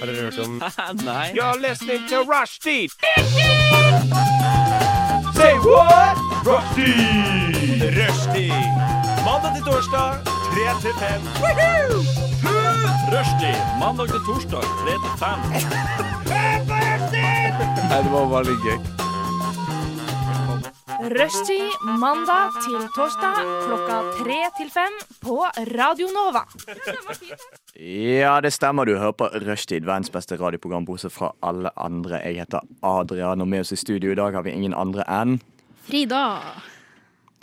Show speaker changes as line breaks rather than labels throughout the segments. Har dere hørt om
Nei.
You're listening to Rushdie. Say what? Rushdie. Rushdie. Mandag til torsdag, 3 til 5.
Rushdie mandag til torsdag 3 til 5.
Nei, det var bare litt gøy.
Rushtid mandag til torsdag klokka tre til fem på Radio Nova.
Ja, det stemmer. Du hører på Rushtid, verdens beste radioprogram, bortsett fra alle andre. Jeg heter Adrian, og med oss i studio i dag har vi ingen andre enn
Frida.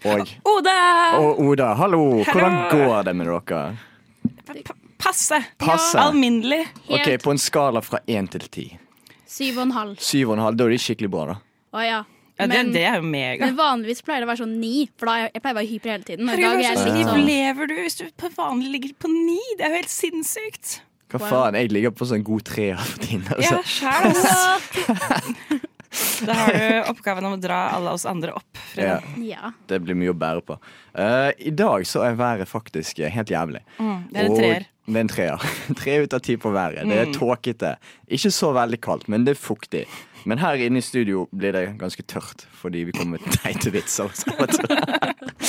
Og,
Ode!
og Oda. Hallo! Hvordan går det med dere?
Passe.
Passe.
Alminnelig.
Ok,
Helt
På en skala fra én til ti.
syv og en halv.
Syv og en halv. Da er det skikkelig bra, da.
Å ja.
Ja, det,
Men,
det er jo mega.
men vanligvis pleier det å være sånn ni, for da er jeg, jeg pleier å være hyper hele tiden. Og i dag er
Herregud, hva
jeg
slags
litt
liv
sånn
lever du hvis du på vanlig ligger på ni? Det er jo helt sinnssykt.
Hva
Wow.
faen? Jeg ligger på sånn god tre av tiden.
Ja,
Altså.
sjæl, altså. Da har du oppgaven om å dra alle oss andre opp.
Ja,
Frida.
sånn- Ja.
det blir mye å bære på. Eh, I dag så er været faktisk helt jævlig.
Mm, det er en
Og-
treer. Mm.
Det er en treer. Tre ut av ti på været. Det er tåkete. Ikke så veldig kaldt, men det er fuktig. Men her inne i studio blir det ganske tørt, fordi vi kommer med teite vitser.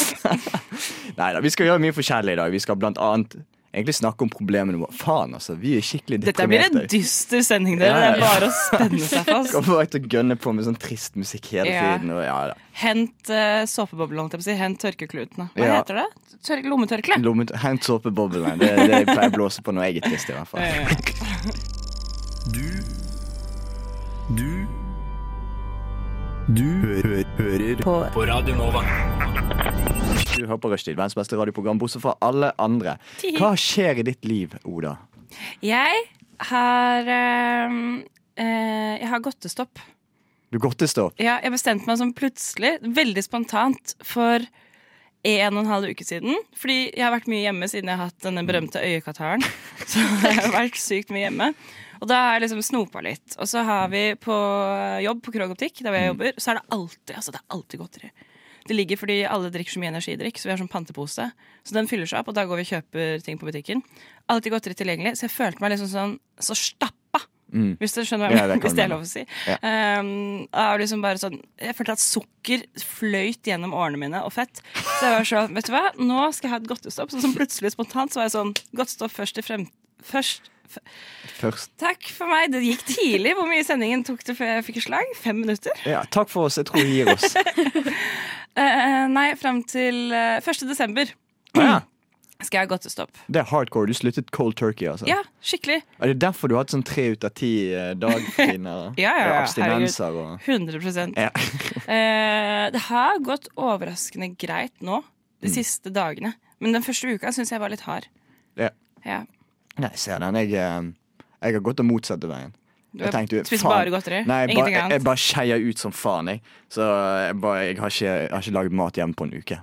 Nei da, vi skal gjøre mye forskjellig i dag. Vi skal blant annet egentlig snakke om problemene våre. Faen, altså. Vi er skikkelig
Dette blir
deprimerte.
en dyster sending, dere. Det
Ja,
er
ja.
bare å spenne seg fast.
Kommer bare til å gønne på med sånn trist musikk hele
Ja.
tiden. Og ja, da.
Hent uh, såpeboblen, holdt jeg på å si. Hent tørkeklutene. Hva
Ja. Mm.
heter det? Tør lommetørkle.
Lommet, Hent såpeboblene. Det er det jeg pleier å blåse på når jeg er trist, i hvert fall.
Du Du Du hø hø hører på. Radio Nova.
Du hører på Rushtid, verdens beste radioprogram, bortsett fra alle andre. Hva skjer i ditt liv, Oda?
Jeg har eh, eh, Jeg har godtestopp.
Du godtestopp.
Ja, jeg bestemte meg sånn plutselig, veldig spontant, for en og en halv uke siden. Fordi jeg har vært mye hjemme siden jeg har hatt denne berømte øyekataren. Så jeg har vært sykt mye hjemme. Og da har jeg liksom snopa litt. Og så har vi på jobb på Krog Optikk, der hvor
Mm.
jeg jobber, så er det alltid altså det er alltid godteri. Det ligger fordi alle drikker så mye energidrikk, så vi har sånn pantepose. Så den fyller seg opp, og da går vi og kjøper ting på butikken. Alltid godteri tilgjengelig. Så jeg følte meg liksom sånn så stappa. Hvis du skjønner hva
Mm.
jeg
Ja, det kan
mener. Hvis det er
jeg
lov å si. Um, og liksom bare sånn, jeg følte at sukker fløyt gjennom årene mine, og fett. Så jeg var sånn, vet du hva, nå skal jeg ha et godtestopp. Sånn som plutselig spontant så var jeg sånn, godtestopp først til frem... Først.
Først.
Takk for meg, det gikk tidlig. Hvor mye sendingen tok det før jeg fikk slag? Fem minutter?
Ja, takk for oss. Jeg tror vi gir oss.
Eh, nei, frem til eh, 1. desember
Ja,
skal jeg ha godtestopp.
det er hardcore. Du sluttet cold turkey, altså.
Ja, skikkelig.
Er det derfor du har hatt sånn tre ut av ti eh, dagfri nå?
Ja, ja, ja,
abstinenser og
100
ja.
Eh, det har gått overraskende greit nå, de siste dagene. Men den første uka syns jeg var litt hard.
Ja.
Ja.
Nei, ser den. Jeg, eh, jeg har gått den motsatte veien.
Du
Jeg
har
tenkte,
spist
faen.
bare godteri?
Nei, jeg, bare,
Ingenting
jeg,
annet?
bare skeier ut som faen, jeg. Så jeg, bare, jeg, har ikke, jeg har ikke laget mat hjemme på en uke.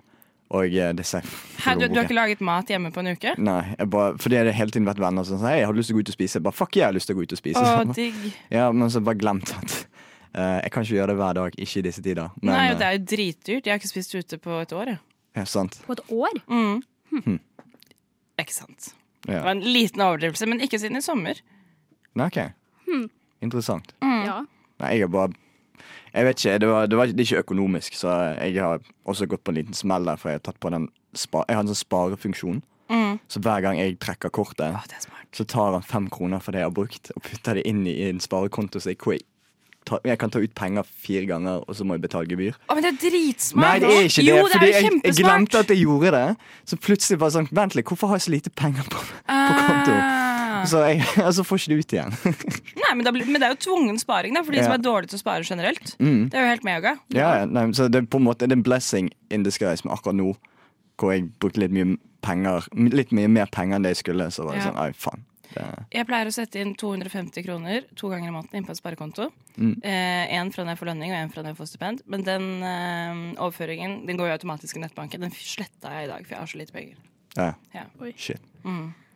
Og eh, det ser
Hæ, du, du har ikke laget mat hjemme på en uke?
Nei, jeg bare, fordi det har hele tiden vært venner som sier Hei, har du lyst til å gå ut og spise. Jeg bare, Fuck, jeg har lyst til å gå ut og spise.
Å,
Så jeg bare-
digg.
ja, men så bare glemt at eh, jeg kan ikke gjøre det hver dag, ikke i disse tider. Men,
Nei,
eh,
det er jo dritdyrt. Jeg har ikke spist ute på et år. jeg.
ja, sant.
på et år.
Ikke sant.
Ja.
Det var en liten overdrivelse, men ikke siden i sommer.
Nei, ok.
Hmm.
Interessant.
Mm.
Ja.
Nei, jeg har bare Jeg vet ikke, det, var, det, var, det er ikke økonomisk, så jeg har også gått på en liten smell der, for jeg har tatt på den spa, Jeg har en sånn sparefunksjon,
Mm.
så hver gang jeg trekker kortet,
Det er smart.
så tar han fem kroner for det jeg har brukt, og putter det inn i en sparekonto, så jeg, hvor jeg, tar, jeg kan ta ut penger fire ganger, og så må jeg betale gebyr.
Å, men det er dritsmart!
Nei, det er ikke det.
Jo, det
fordi
er jo
jeg, jeg
kjempesmart.
glemte at jeg gjorde det. Så plutselig bare sånn Vent litt, hvorfor har jeg så lite penger på, på konto?
Ah.
Så jeg, og så får ikke det ut igjen.
Nei, men, da blir, men det er jo tvungen sparing da, for de
Ja. Mm.
som er dårlige til å spare generelt. Det er jo helt mega.
ja, ja, nei, så det er på en måte det er en blessing in disguise, men akkurat nå, hvor jeg brukte litt mye penger Litt mye mer penger enn det jeg skulle, så var det
Ja.
sånn Ai, faen. Det,
Jeg pleier å sette inn 250 kroner to ganger i måneden inn på en sparekonto. Én
Mm.
fra når jeg får lønning, og én fra når jeg får stipend. Men den eh, overføringen den går jo automatisk i nettbanken. Den sletta jeg i dag, for jeg har så lite penger.
ja,
Ja.
shit.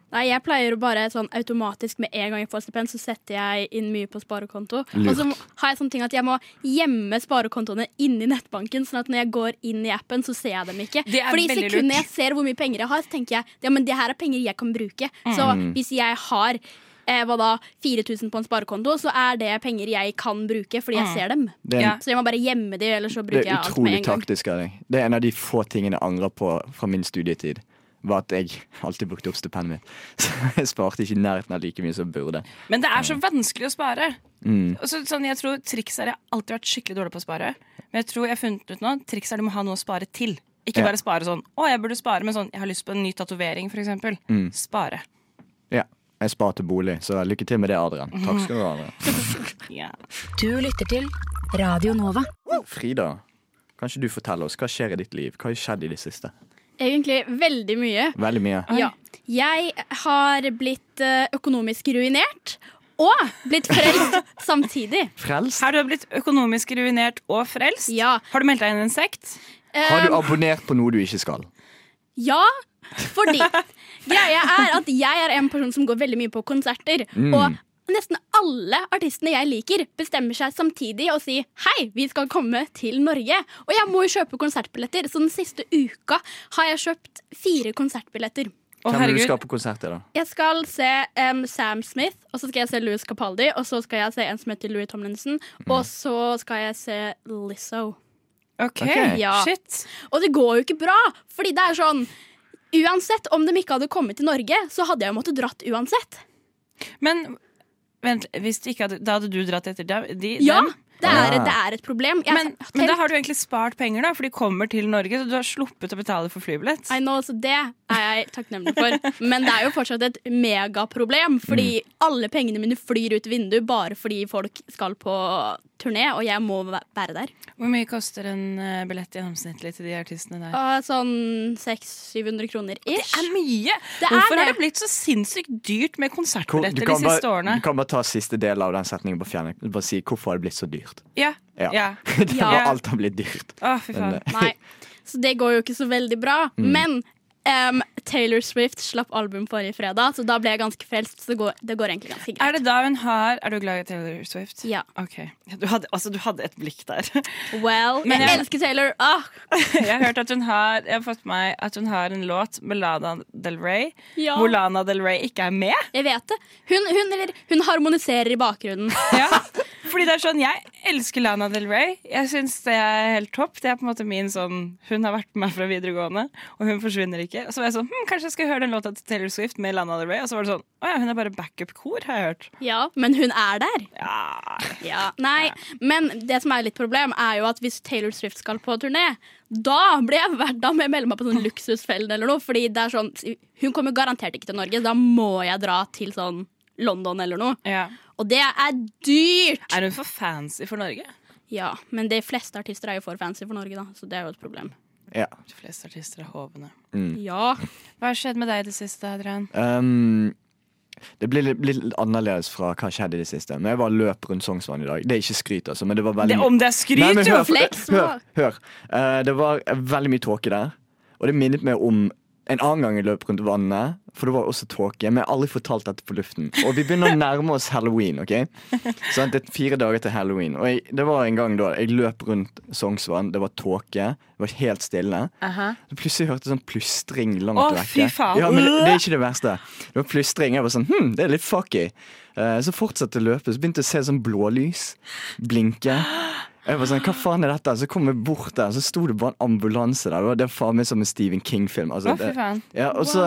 Nei, jeg pleier å bare sånn automatisk med en gang jeg får stipend, så setter jeg inn mye på sparekonto.
Lurt.
Og så har jeg sånn ting at jeg må gjemme sparekontoene inni nettbanken, sånn at når jeg går inn i appen, så ser jeg dem ikke.
Det er
Fordi i
veldig
sekundet
lurt.
Mm.
jeg ser hvor mye penger jeg har, så tenker jeg ja, men det her er penger jeg kan bruke. Så hvis jeg har eh, hva da, 4000 på en sparekonto, så er det penger jeg kan bruke fordi
Mm.
jeg ser dem.
Det er, en-
Ja.
Så jeg må bare gjemme de, eller så
det
bruker jeg
er
alt med
utrolig
en gang.
taktisk av deg. Det er en av de få tingene jeg angrer på fra min studietid. Var at jeg alltid brukte opp stipendet mitt. Så jeg sparte ikke i nærheten av like mye som jeg burde.
Men det er så vanskelig å spare.
Mm.
Og Så, sånn, jeg tror Triks er jeg har alltid vært skikkelig dårlig på å spare. Men jeg tror jeg har funnet ut nå triks er du må ha noe å spare til. Ikke
Ja.
bare spare sånn 'Å, jeg burde spare', men sånn 'Jeg har lyst på en ny tatovering', for eksempel.
Mm.
Spare.
Ja, jeg sparte bolig, så lykke til med det, Adrian. Takk skal du ha. Adrian.
Ja.
Du lytter til Radio Nova.
Frida, kan ikke du fortelle oss hva skjer i ditt liv? Hva har skjedd i det siste?
Egentlig veldig mye.
Veldig mye.
Ja. Jeg har blitt eh, økonomisk ruinert. Og blitt frelst samtidig.
Frelst?
Her du har blitt økonomisk ruinert og frelst.
Ja.
Har du meldt deg inn i en sekt?
Har du abonnert på noe du ikke skal?
Eh, Ja, fordi greia er at jeg er en person som går veldig mye på konserter. Og nesten alle artistene jeg liker, bestemmer seg samtidig og sier hei, vi skal komme til Norge. Og jeg må jo kjøpe konsertbilletter, så den siste uka har jeg kjøpt fire konsertbilletter.
Å,
Hvem er det du
herregud.
skal på konsert til, da?
Jeg skal se em, Sam Smith, og så skal jeg se Louis Capaldi, og så skal jeg se en som heter Louis Tomlinson,
Mm.
og så skal jeg se Lizzo.
Ok,
Ok.
Ja.
shit.
Og det går jo ikke bra, fordi det er sånn Uansett om de ikke hadde kommet til Norge, så hadde jeg jo måttet dratt uansett.
Men vent, hvis de ikke hadde, da hadde du dratt etter dem? De,
Ja,
dem?
det er,
Ah.
det er et problem. Jeg,
Men, men da har du egentlig spart penger, da, for de kommer til Norge, så du har sluppet å betale for flybillett.
I know, så Det er jeg takknemlig for. Men det er jo fortsatt et megaproblem,
Mm.
fordi alle pengene mine flyr ut vinduet bare fordi folk skal på turné, og jeg må væ- være der.
Hvor mye koster en eh, billett gjennomsnittlig til de artistene der?
Og sånn 600-700 kroner ish.
er mye!
Det er
Hvorfor
det.
har det blitt så sinnssykt dyrt med
Hvor-
konsertbilletter de
kan
siste
bare,
årene?
du kan bare ta siste del av den setningen på fjernet. Bare si hvorfor har det blitt så dyrt.
Ja.
Ja.
ja.
Det
Ja.
var alt har blitt dyrt.
Å, fy
Men,
faen.
eh,
Nei, så det går jo ikke så veldig bra. Men em, Taylor Swift slapp album forrige fredag, så da ble jeg ganske frelst. Så det går, det går egentlig ganske greit.
Er det da hun har Er du glad i Taylor Swift?
Ja.
Ok. Du hadde, altså, du hadde et blikk der.
Well,
Men
jeg,
jeg-
elsker Taylor. Ah,
Jeg har hørt at hun har Jeg har fått meg at hun har en låt med Lana Del Rey
Ja.
hvor Lana Del Rey ikke er med.
jeg vet det. Hun, hun, eller, hun harmoniserer i bakgrunnen.
Ja. Fordi det er sånn, Jeg elsker Lana Del Rey. Jeg syns det er helt topp. Det er på en måte min sånn Hun har vært med meg fra videregående, og hun forsvinner ikke. Og så var jeg sånn, hm, Kanskje jeg skal høre den låta til Taylor Swift med Lana Del Rey. Og så var det sånn Å ja, hun er bare backup-kor, har jeg hørt.
Ja, Men hun er der.
Ja.
Ja. Nei, men det som er litt problem, er jo at hvis Taylor Swift skal på turné, da blir jeg hver dag med melde meg på sånn luksusfellen eller noe. Fordi det er sånn, hun kommer garantert ikke til Norge. Da må jeg dra til sånn London eller noe.
ja.
Og det er dyrt!
Er hun for fancy for Norge?
Ja, men de fleste artister er jo for fancy for Norge, da, så det er jo et problem.
eh, Ja.
De fleste artister er hovne.
Ja.
Hva har skjedd med deg i det siste, Adrian?
Um, det blir litt, litt annerledes fra hva skjedde i det siste. Men jeg var løp rundt Sognsvann i dag. Det er ikke skryt, altså, men det var veldig
Det, om det er
Nei, men
skryt, jo!
hør,
flex,
Hør,
må-
hør. Eh, det var veldig mye tåke der. Og det minnet meg om en annen gang jeg løp rundt vannet, for det var også tåke. Men jeg har aldri fortalt dette på luften. Og vi begynner å nærme oss halloween. ok? Sånn, det er fire dager til halloween. Og jeg, det var en gang da jeg løp rundt Sognsvann, det var tåke, det var helt stille. Så plutselig hørte jeg sånn plystring langt
Å,
vekke.
fy faen.
Ja, men det, det er ikke det verste. Det var plystring. Jeg var sånn Hm, det er litt fucky. Eh, så fortsatte jeg å løpe, så begynte jeg å se sånn blålys blinke. Jeg var sånn, hva faen er dette? Så kom jeg bort der, så sto det bare en ambulanse der. Det var, det var faen meg som en Stephen King-film. Altså,
Å, fy
det-
faen.
ja, og så,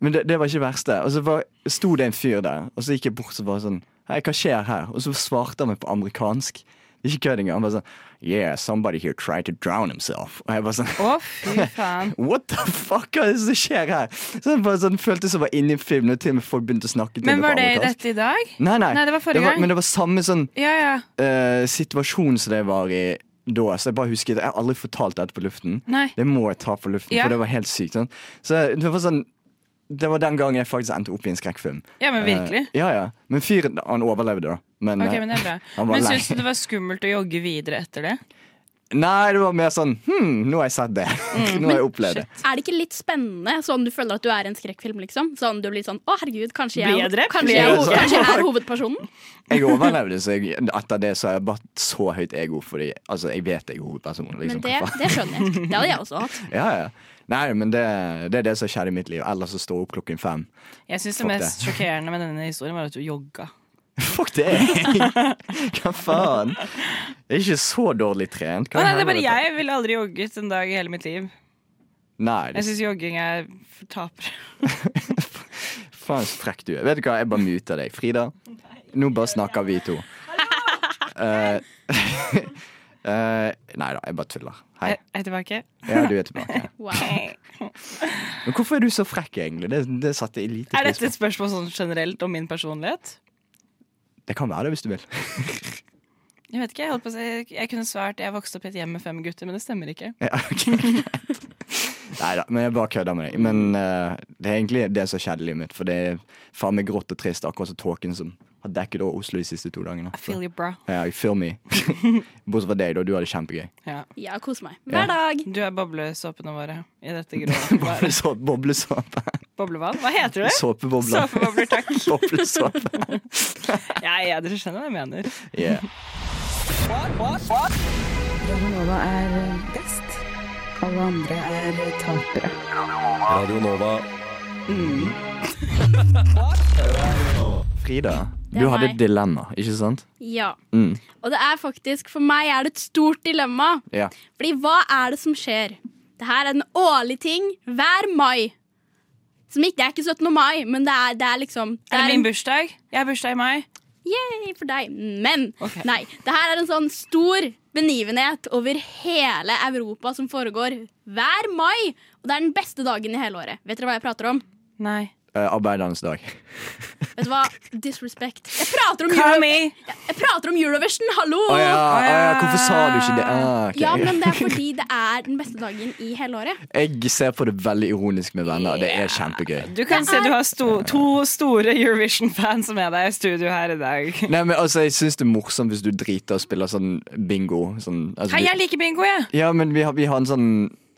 men det, det var ikke det verste. Og så var, sto det en fyr der, og så gikk jeg bort og så bare sånn Hei, hva skjer her? Og så svarte han meg på amerikansk. Ikke kødd engang. Han bare sånn Yeah, somebody here tried to drown himself. Og jeg bare sånn
Å, fy faen.
What the fuck er det som skjer her? Så jeg bare sånn, følte som jeg var inne i filmen, og til og med folk begynte å snakke til
Men
meg på
var det i
amerikansk.
dette i dag?
Nei, nei.
Nei, det var forrige gang.
Men det var samme sånn
Ja, ja.
eh, situasjon som det var i da. Så jeg bare husker det. Jeg har aldri fortalt dette på luften.
Nei.
Det må jeg ta på luften,
Ja.
for det var helt sykt. Sånn. Så det var sånn Det var den gangen jeg faktisk endte opp i en skrekkfilm.
Ja, men virkelig.
Eh, ja, ja. Men fyren, han overlevde, da. Men,
Ok,
eh,
men det er bra.
Han var
Men
lei.
syns du det var skummelt å jogge videre etter det?
Nei, det var mer sånn Hm, nå har jeg sett det.
Mm.
nå har jeg opplevd det.
Er det ikke litt spennende, sånn du føler at du er i en skrekkfilm? liksom? Sånn du blir sånn, å herregud, kanskje jeg,
Blir jeg drept?
Kanskje
Blir
jeg,
jeg
er ho-
drept?
kanskje jeg er hovedpersonen?
Jeg overlevde, så jeg, etter det så har jeg bare så høyt ego, fordi altså, jeg vet jeg er hovedpersonen.
Men
Liksom.
det, det skjønner jeg. Det hadde jeg også hatt.
Ja, ja. Nei, men det, det er det som skjedde i mitt liv. Ellers så står jeg opp klokken fem.
Jeg syns det
Fuck det.
mest sjokkerende med denne historien var at du jogga.
Fuck det! Hva faen? Jeg er ikke så dårlig trent. Hva
Å, nei, det er
helvete?
bare jeg ville aldri jogget en dag i hele mitt liv.
Nei, det
Jeg syns jogging er for tapere.
er faen så frekk du er. Vet du hva, jeg bare muter deg. Frida, nå bare snakker vi to. Uh, eh, nei da, jeg bare tuller. Hei.
Er jeg tilbake?
Ja, du er tilbake.
Wow.
Men hvorfor er du så frekk, egentlig? Det, det satte jeg lite
Er
pris
dette
på.
et spørsmål sånn generelt om min personlighet?
Det kan være det, hvis du vil.
Jeg vet ikke, jeg, holdt på å si, jeg kunne svart jeg vokste opp i et hjem med fem gutter, men det stemmer ikke.
Ja, ok, greit. Neida, men jeg bare kødder med deg. Men eh, det er egentlig det som skjedde i livet mitt. For det er faen meg grått og trist, akkurat som tåken som har dekket over Oslo de siste to dagene.
I feel you, bra.
Ja, you feel me. Bortsett fra deg, da. Du har det kjempegøy.
Ja.
Ja, kos meg. Hver dag.
Du er boblesåpene våre i dette grå været.
Så- Boblesåpe.
Boblevann? Hva heter det?
Såpebobler.
Såpebobler, takk.
Boblesåpe.
Ja, ja, dere skjønner hva jeg mener.
Yeah.
Radionova er
eh,
best. Alle andre er tapere.
Radio Nova.
Frida,
er
du hadde
meg.
et dilemma, ikke sant?
Ja.
Mm.
Og det er faktisk, for meg er det et stort dilemma.
Ja.
Fordi hva er det som skjer? Det her er en årlig ting hver mai. Som ikke, det er ikke 17. mai, men det er, det er liksom det er
Er det min
en-
bursdag? Jeg har bursdag i mai.
Yay for deg. Men
Ok.
nei. Det her er en sånn stor benivenhet over hele Europa som foregår hver mai. Og det er den beste dagen i hele året. Vet dere hva jeg prater om?
Nei.
Eh, arbeidernes dag.
Vet du hva? Disrespect. Jeg prater om,
Call
Euro
me!
jeg prater om Eurovision, hallo!
Å ja, å ja,
ja.
hvorfor sa du ikke det? Ah, ok.
Ja, men det er fordi det er den beste dagen i hele året.
Jeg ser på det veldig ironisk med venner. Det er kjempegøy.
Du kan se du har sto to store Eurovision-fans med deg i studio her i dag.
Nei, men altså, Jeg syns det er morsomt hvis du driter og spiller sånn bingo. Sånn, altså,
Hei,
vi-
jeg liker bingo, jeg.
Ja, men vi har, vi har en sånn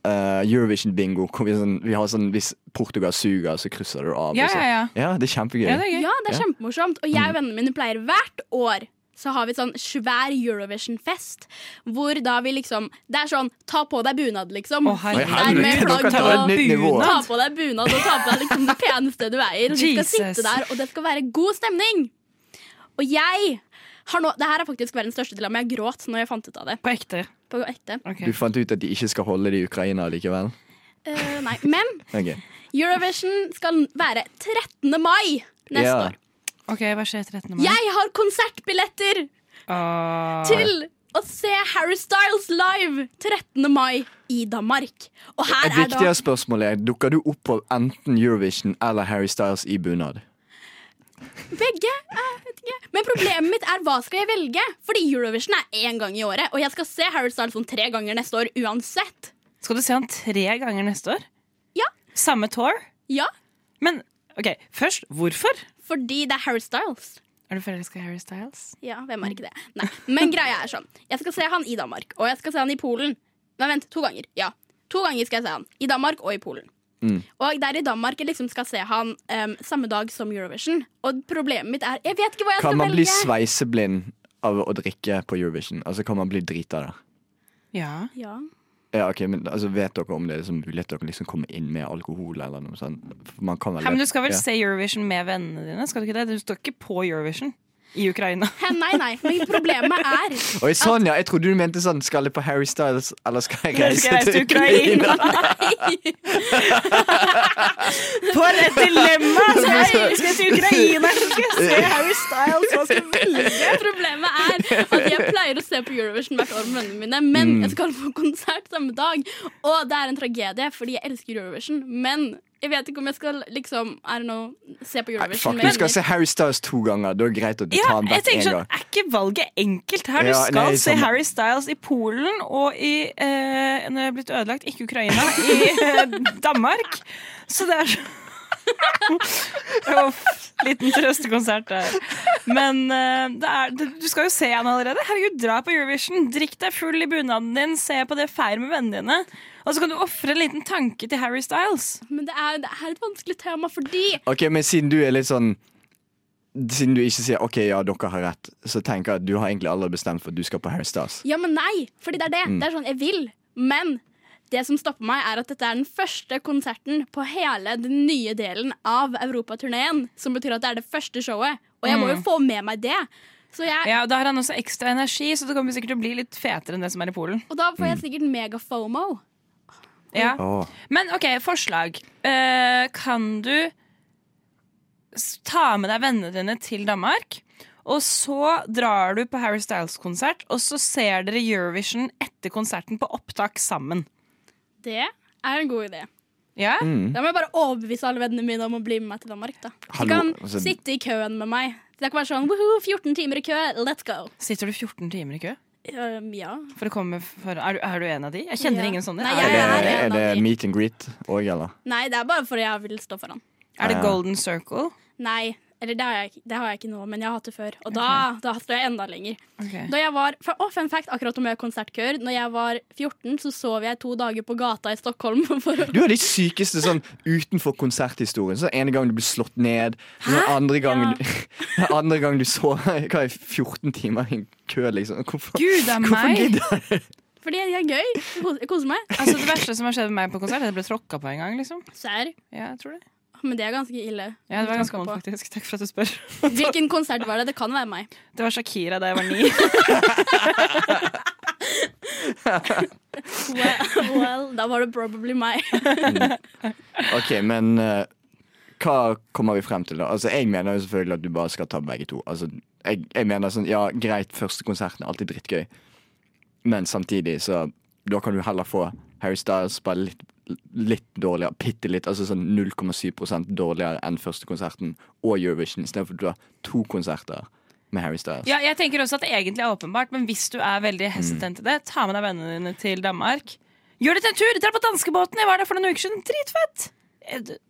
eh, Eurovision-bingo. hvor Vi, sånn, vi har sånn Hvis Portugal suger, så krysser du av.
Ja,
og så-
ja, ja.
ja, det er kjempegøy.
Ja, det er gøy.
Ja, det er
Ja. Mm.
kjempemorsomt. Og jeg og vennene mine pleier hvert år så har vi sånn svær Eurovision-fest. Hvor da vi liksom Det er sånn ta på deg bunad, liksom.
Å, herregud.
Sitt der med
Herregud,
flagg
dere tar
og
et nytt nivå.
ta på deg bunad og ta på deg liksom det peneste du eier. Og vi skal
Jesus.
sitte der, og det skal være god stemning. Og jeg har nå Det her er faktisk verdens største dilemma. Jeg gråt når jeg fant ut av det.
På ekte.
På ekte.
Ok.
Du fant ut at de ikke skal holde det i Ukraina likevel?
Eh, nei. Men
Ok.
Eurovision skal være 13. mai neste
Ja.
år.
Ok, hva skjer 13. mai?
Jeg har konsertbilletter
Åh.
til å se Harry Styles live 13. mai i Danmark. Og
Et
her er da
viktigere spørsmål er dukker du opp på enten Eurovision eller Harry Styles i bunad.
Altså,
begge. eh, Jeg vet ikke. Men problemet mitt er hva skal jeg velge? Fordi Eurovision er én gang i året, og jeg skal se Harry Styles sånn tre ganger neste år uansett.
Skal du se han tre ganger neste år?
Ja.
Samme tour?
Ja,
Men ok, først, hvorfor?
fordi det er Harry Styles.
Er du forelska i Harry Styles?
Ja, hvem
Mm.
er ikke det? Nei. Men greia er sånn. Jeg skal se han i Danmark, og jeg skal se han i Polen. Nei, vent, to ganger. Ja. To ganger skal jeg se han. I Danmark og i Polen.
Mm.
Og det er i Danmark jeg liksom skal se han em, samme dag som Eurovision. Og problemet mitt er Jeg vet ikke hva jeg
Kan
skal
man bli
velge.
sveiseblind av å drikke på Eurovision? Altså, kan man bli drita av det?
Ja.
ja.
Ja, ok, men altså, Vet dere om det er liksom mulighet til å liksom komme inn med alkohol eller noe sånt? For Man kan vel
Hei, men du skal vel
ja.
se Eurovision med vennene dine? Skal du ikke det? Du står ikke på Eurovision i Ukraina.
Hæ, Nei, nei. Men problemet er
Oi, sånn, ja. Jeg trodde du mente sånn Skal jeg på Harry Styles, eller skal jeg
Eller
reise
skal jeg reise til Ukraina? For et dilemma! Så jeg skal til Ukraina, så skal jeg se Harry Styles! Hva skal jeg velge?
Problemet er at jeg pleier å se på Eurovision hvert år med vennene mine, men
Mm.
jeg skal på konsert samme dag. Og det er en tragedie, fordi jeg elsker Eurovision, men jeg vet ikke om jeg skal liksom, er det noe, se på
Nei,
Eurovision
fuck, du
med
skal
venner.
se Harry Styles to ganger. Da er det greit at du
Ja,
tar den
jeg
vekk én
tenker sånn,
gang.
Er ikke valget enkelt her? Du
Ja,
skal
nei,
se
samme.
Harry Styles i Polen og i eh, Nå er jeg blitt ødelagt, ikke Ukraina, i eh, Danmark. Så det er så- Uff, liten trøstekonsert der. Men eh, det er, det, du skal jo se han allerede. Herregud, dra på Eurovision. Drikk deg full i bunaden din, se på det, feir med vennene dine. Og så kan du ofre en liten tanke til Harry Styles.
Men det er, det er et vanskelig tema fordi
sånn-
Ok, Men siden du er litt sånn Siden du ikke sier OK, ja, dere har rett, så tenker jeg at du har egentlig aldri bestemt for at du skal på Harry Styles.
Ja, men nei, fordi det er det.
Mm.
Det er sånn, jeg vil, men det som stopper meg, er at dette er den første konserten på hele den nye delen av europaturneen. Som betyr at det er det første showet, og jeg
Mm.
må jo få med meg det. Så jeg,
Ja, og Da har han også ekstra energi, så det kommer sikkert til å bli litt fetere enn det som er i Polen.
og da
Mm.
får jeg sikkert mega-fomo.
Ja.
Åh.
Men OK, forslag. Eh, kan du s- ta med deg vennene dine til Danmark? Og så drar du på Harry Styles-konsert, og så ser dere Eurovision etter konserten på opptak sammen.
Det er en god idé.
Ja?
Da må jeg bare overbevise alle vennene mine om å bli med meg til Danmark. da De
Mm. Hallo,
kan
altså-
sitte i køen med meg. Det kan være sånn Woohoo, 14 timer i kø, let's go.
Sitter du 14 timer i kø? Ehm,
Um, ja.
For å komme for, er, du, er du en av de? Jeg kjenner
Ja.
ingen sånne.
Nei,
er,
jeg
det,
Er det, er
en av
det
de.
meet and greet òg, eller?
Nei, det er bare fordi jeg vil stå foran.
er det
Ja.
Golden Circle?
Nei, eller det har, jeg, ikke- det har jeg ikke nå, men jeg har hatt det før. Og da, da står jeg enda lenger. Da jeg var, fa- å, fun fact, akkurat om jeg har konsertkøer. Når jeg var 14, så sov jeg to dager på gata i Stockholm. For, å-
Du er de sykeste sånn utenfor konserthistorien. Så ene gang du ble slått ned, og så andre gang, du- andre gang du så hva er 14 timer i en kø, liksom. Hvorfor,
Gud det er
hvorfor
meg!
gidder jeg?
fordi det er gøy. Jeg kos- Jeg koser meg.
Altså, det verste som har skjedd med meg på konsert, er at jeg ble tråkka på en gang. liksom
Serr.
Ja, jeg tror det.
Men det er ganske ille.
Ja, det var ganske
Tråkka
vondt,
på.
faktisk. Takk for at du spør.
Hvilken konsert var det? Det kan være meg.
Det var Shakira da jeg var ni.
Well, well da var det probably meg.
Ok, men eh, hva kommer vi frem til, da? Altså, Jeg mener jo selvfølgelig at du bare skal ta begge to. Altså, jeg, jeg mener sånn, ja, Greit, første konserten er alltid drittgøy, men samtidig så Da kan du heller få Harry Styles bare litt, litt dårligere, bitte litt, altså sånn 0,7 dårligere enn første konserten, og Eurovision, istedenfor at du har to konserter med Harry Styles.
Ja, jeg tenker også at det egentlig er åpenbart, men hvis du er veldig hesitant til det, ta med deg vennene dine til Danmark. Gjør det til en tur! Dra på danskebåten! Jeg var der for noen uker siden. Dritfett! Eh, d-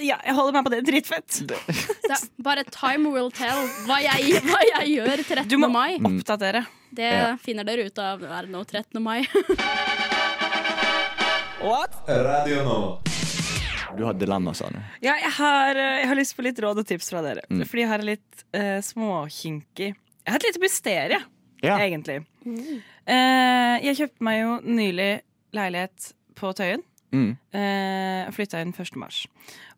Ja, jeg holder meg på det. Dritfett.
Da, bare time will tell hva jeg, hva jeg gjør
Du
13.
må
mai.
oppdatere.
Det
Ja.
finner dere ut av hva er det nå 13. mai.
Radio nå.
Du har dilemma, sa du.
Ja, jeg har, eh, jeg har lyst på litt råd og tips fra dere. Fordi jeg har et litt eh, småkinkig Jeg har et lite mysterium.
Ja.
egentlig. Eh, jeg kjøpte meg jo nylig leilighet på Tøyen.
Mm.
Eh, og flytta inn 1. mars.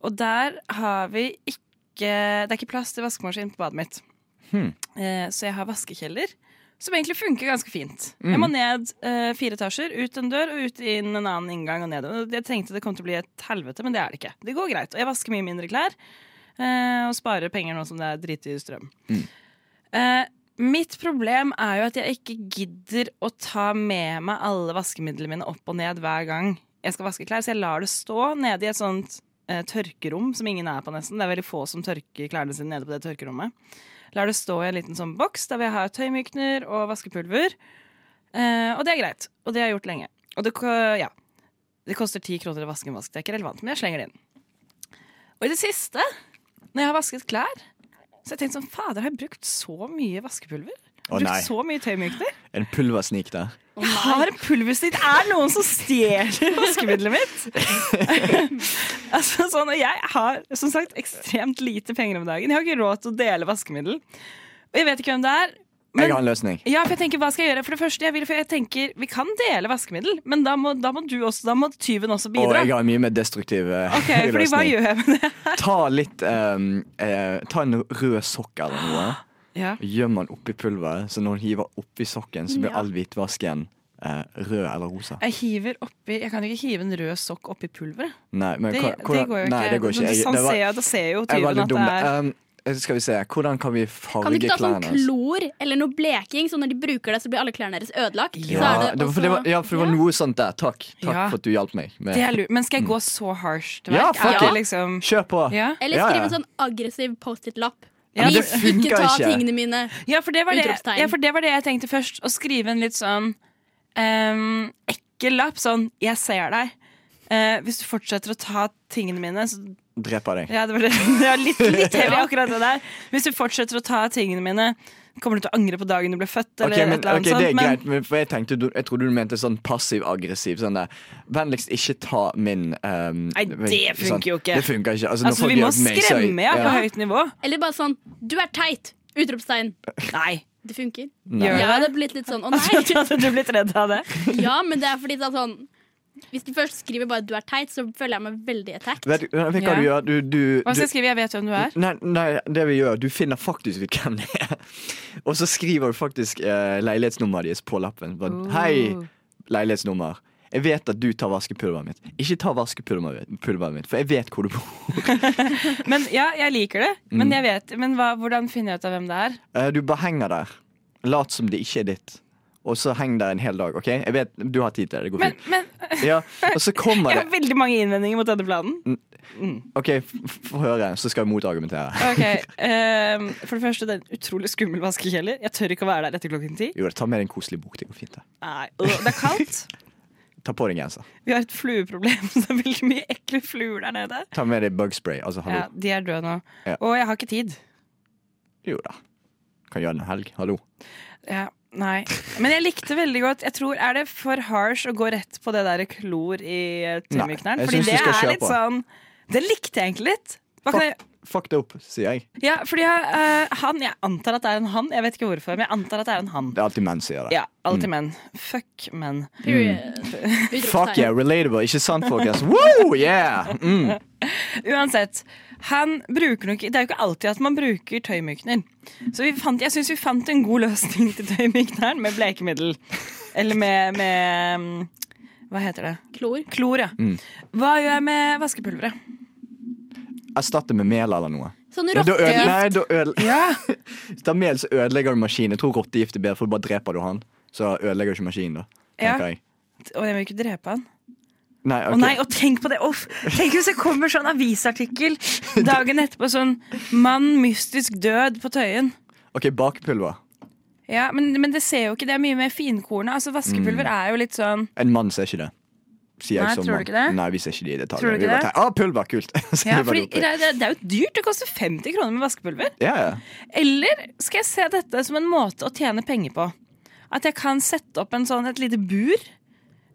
Og der har vi ikke Det er ikke plass til vaskemaskin på badet mitt.
Hmm.
Eh, så jeg har vaskekjeller, som egentlig funker ganske fint.
Mm.
Jeg må ned eh, fire etasjer, ut en dør og ut inn en annen inngang og ned. Og Jeg tenkte det kom til å bli et helvete, men det er det ikke. Det går greit. Og jeg vasker mye mindre klær eh, og sparer penger nå som det er dritdyr strøm.
Mm.
Eh, mitt problem er jo at jeg ikke gidder å ta med meg alle vaskemidlene mine opp og ned hver gang jeg skal vaske klær, så jeg lar det stå nede i et sånt eh, tørkerom som ingen er på nesten. Det er veldig få som tørker klærne sine nede på det tørkerommet. Lar det stå i en liten sånn boks der vi har tøymykner og vaskepulver. Eh, og det er greit, og det har jeg gjort lenge. Og det, ko- ja, det koster ti kroner å vaske en vask, det er ikke relevant, men jeg slenger det inn. Og i det siste, når jeg har vasket klær, så har jeg tenkt sånn, fader, har jeg brukt så mye vaskepulver? Har
Å,
jeg
nei.
brukt så mye tøymykner?
En pulversnik der.
Jeg har en pulversnitt. Er det noen som stjeler vaskemiddelet mitt? altså, sånn, og jeg har som sagt ekstremt lite penger om dagen. Jeg har ikke råd til å dele vaskemiddel. Og jeg vet ikke hvem det er.
Jeg
Men,
har en løsning.
ja, for jeg tenker, hva skal jeg gjøre? For det første, jeg, vil, for jeg tenker, Vi kan dele vaskemiddel, men da må, da må du også, da må tyven også
Og
bidra.
jeg har en mye mer destruktiv eh,
Ok, fordi Hva
løsning.
gjør jeg med det?
Ta litt ehm, eh, Ta en rød sokk eller noe.
Ja.
og Gjemmer den oppi pulveret, så når du hiver oppi sokken, så blir all hvitvasken eh, rød eller rosa.
Jeg hiver oppi, jeg kan ikke hive en rød sokk oppi pulveret.
Nei, men,
Det,
hva-
det
hvordan-
går jo ikke.
Nei, det går ikke.
Men
Jeg,
sånn
det var,
ser, jeg- da ser jo
jeg var
tyven
litt
at
dum.
det er
Ehm, skal vi se, hvordan kan vi
Kan du
farge
ikke ta sånn
klærne? hans?
klor eller noe bleking, så når de bruker det, så blir alle klærne deres ødelagt? Så er
Ja, det var, for det var, ja, for det var
Ja.
noe sånt der. Takk, takk
Ja.
for at du hjalp meg. Med.
Det er lurt. Men skal jeg gå så harsh til
Ja,
verk? Er
fuck
det
it.
liksom
Kjør på!
ja.
Eller
Ja,
skriv
ja.
en sånn aggressiv Post-It-lapp.
Ja,
men det
Please,
funker
ikke ta
ikke.
tingene mine.
Ja, for det var det,
Utropstegn.
ja, for det var det jeg tenkte først. Å skrive en litt sånn ehm, ekkel lapp. Sånn 'jeg ser deg'. Eh, hvis du fortsetter å ta tingene mine, så
dreper jeg deg.
Ja, det var, det. Det var litt, litt heavy akkurat det der. Hvis du fortsetter å ta tingene mine, kommer du til å angre på dagen du ble født. Eller
Ok, men,
et eller
ok,
annet
det er
sånt.
greit, men for jeg, tenkte, du- jeg trodde du mente sånn passiv-aggressiv. Sånn der Vennligst ikke ta min ehm,
Nei, det funker jo ikke.
Det funker ikke. Altså,
Men
når
altså,
folk
vi må
gjør meg søy-
skremme ja, på
ja.
høyt nivå.
Eller bare sånn 'du er teit'! Utropstegn.
Nei,
Det funker.
gjør
Jeg
det
hadde
det?
blitt litt sånn 'å
Altså,
nei'.
Hadde du blitt redd av det?
Ja, men det er fordi det er sånn Hvis du først skriver bare du er teit, så føler jeg meg veldig attacked.
Vet, du- vet du hva
Ja.
du gjør? Du, du,
Hva
du
skal jeg skrive? Jeg vet hvem du er.
Nei, nei, det vi gjør, du finner faktisk ut hvem det er. Og så skriver du faktisk eh, leilighetsnummeret deres på lappen. Bare,
Oh.
Hei, leilighetsnummer. Jeg vet at du tar vaskepulveret mitt. Ikke ta vaskepulveret pulveret mitt, for jeg vet hvor du bor.
Men ja, jeg liker det.
Mm.
Men, jeg vet, men hva, hvordan finner jeg ut av hvem det er?
Eh, du bare henger der. Lat som det ikke er ditt. Og så heng der en hel dag. ok? Jeg vet, Du har tid til det. Det går
Men,
fint.
men
Ja, og så kommer
jeg
det
har veldig mange innvendinger mot denne planen.
Mm. OK, f- få høre, så skal vi motargumentere.
Ok, ehm, For det første, det er en utrolig skummel vaskekjeller. Jeg tør ikke å være der etter klokken ti.
Jo, da, ta med deg en koselig bok. Det går fint. det.
Nei, øh, Det er kaldt.
Ta på deg genser.
Vi har et flueproblem. så Det er veldig mye ekle fluer der nede.
Ta med deg bugspray. Altså, hallo.
Ja, De er døde nå.
Ja.
Og jeg har ikke tid.
Jo da. Kan gjøre det en helg. Hallo.
Ja, nei. Men jeg likte veldig godt Jeg tror, Er det for harsh å gå rett på det der klor i eh, trimmerkneren?
Nei, jeg
Fordi
synes du
det
skal
er
kjøre
litt
på.
sånn Det likte jeg egentlig litt. Hva kan jeg,
Fuck det opp, sier jeg.
ja, fordi jeg, eh, han, jeg antar at det er en han. Jeg vet ikke hvorfor, men jeg antar at det er en han.
Det er alltid menn som gjør det.
Ja, alltid menn. Fuck menn. Mm.
Period.
Fuck
Utropstegn.
yeah, relatable. Ikke sant, folkens? Woo, yeah! Mm.
Uansett, han bruker nok, det er jo ikke alltid at man bruker tøymykner. Så vi fant, jeg syns vi fant en god løsning til tøymykneren med blekemiddel. Eller med, med mm, Hva heter det?
Klor.
Klor, ja. Hva gjør jeg med vaskepulveret?
Erstatte med mel eller noe.
Sånn
Da øde-
rottegift.
nei, da øde- Hvis det er mel, så ødelegger du maskinen. Jeg tror rottegift er bedre, for da bare dreper du han. Så ødelegger du ikke maskinen, da.
Ja.
Tenker jeg.
Å, jeg vil ikke drepe han.
Nei,
Å
ok.
nei, og tenk på det! Uff, tenk hvis det kommer sånn avisartikkel dagen etterpå. Sånn 'Mann mystisk død på Tøyen'.
OK, bakepulver.
Ja, men, men det ser jo ikke, det er mye mer finkornet. Altså, vaskepulver
Mm.
er jo litt sånn
En mann ser ikke det. Sier
Nei,
jeg som
tror du
mann.
ikke det?
Nei, vi ser ikke det i detalj.
Tror du
Vi
ikke
bare
det?
tenker, ah, pulver, kult! Så vi
Ja,
bare
fordi
roper.
det, er- det er jo dyrt. Det koster 50 kroner med vaskepulver.
ja, ja.
Eller skal jeg se dette som en måte å tjene penger på? At jeg kan sette opp en sånn, et lite bur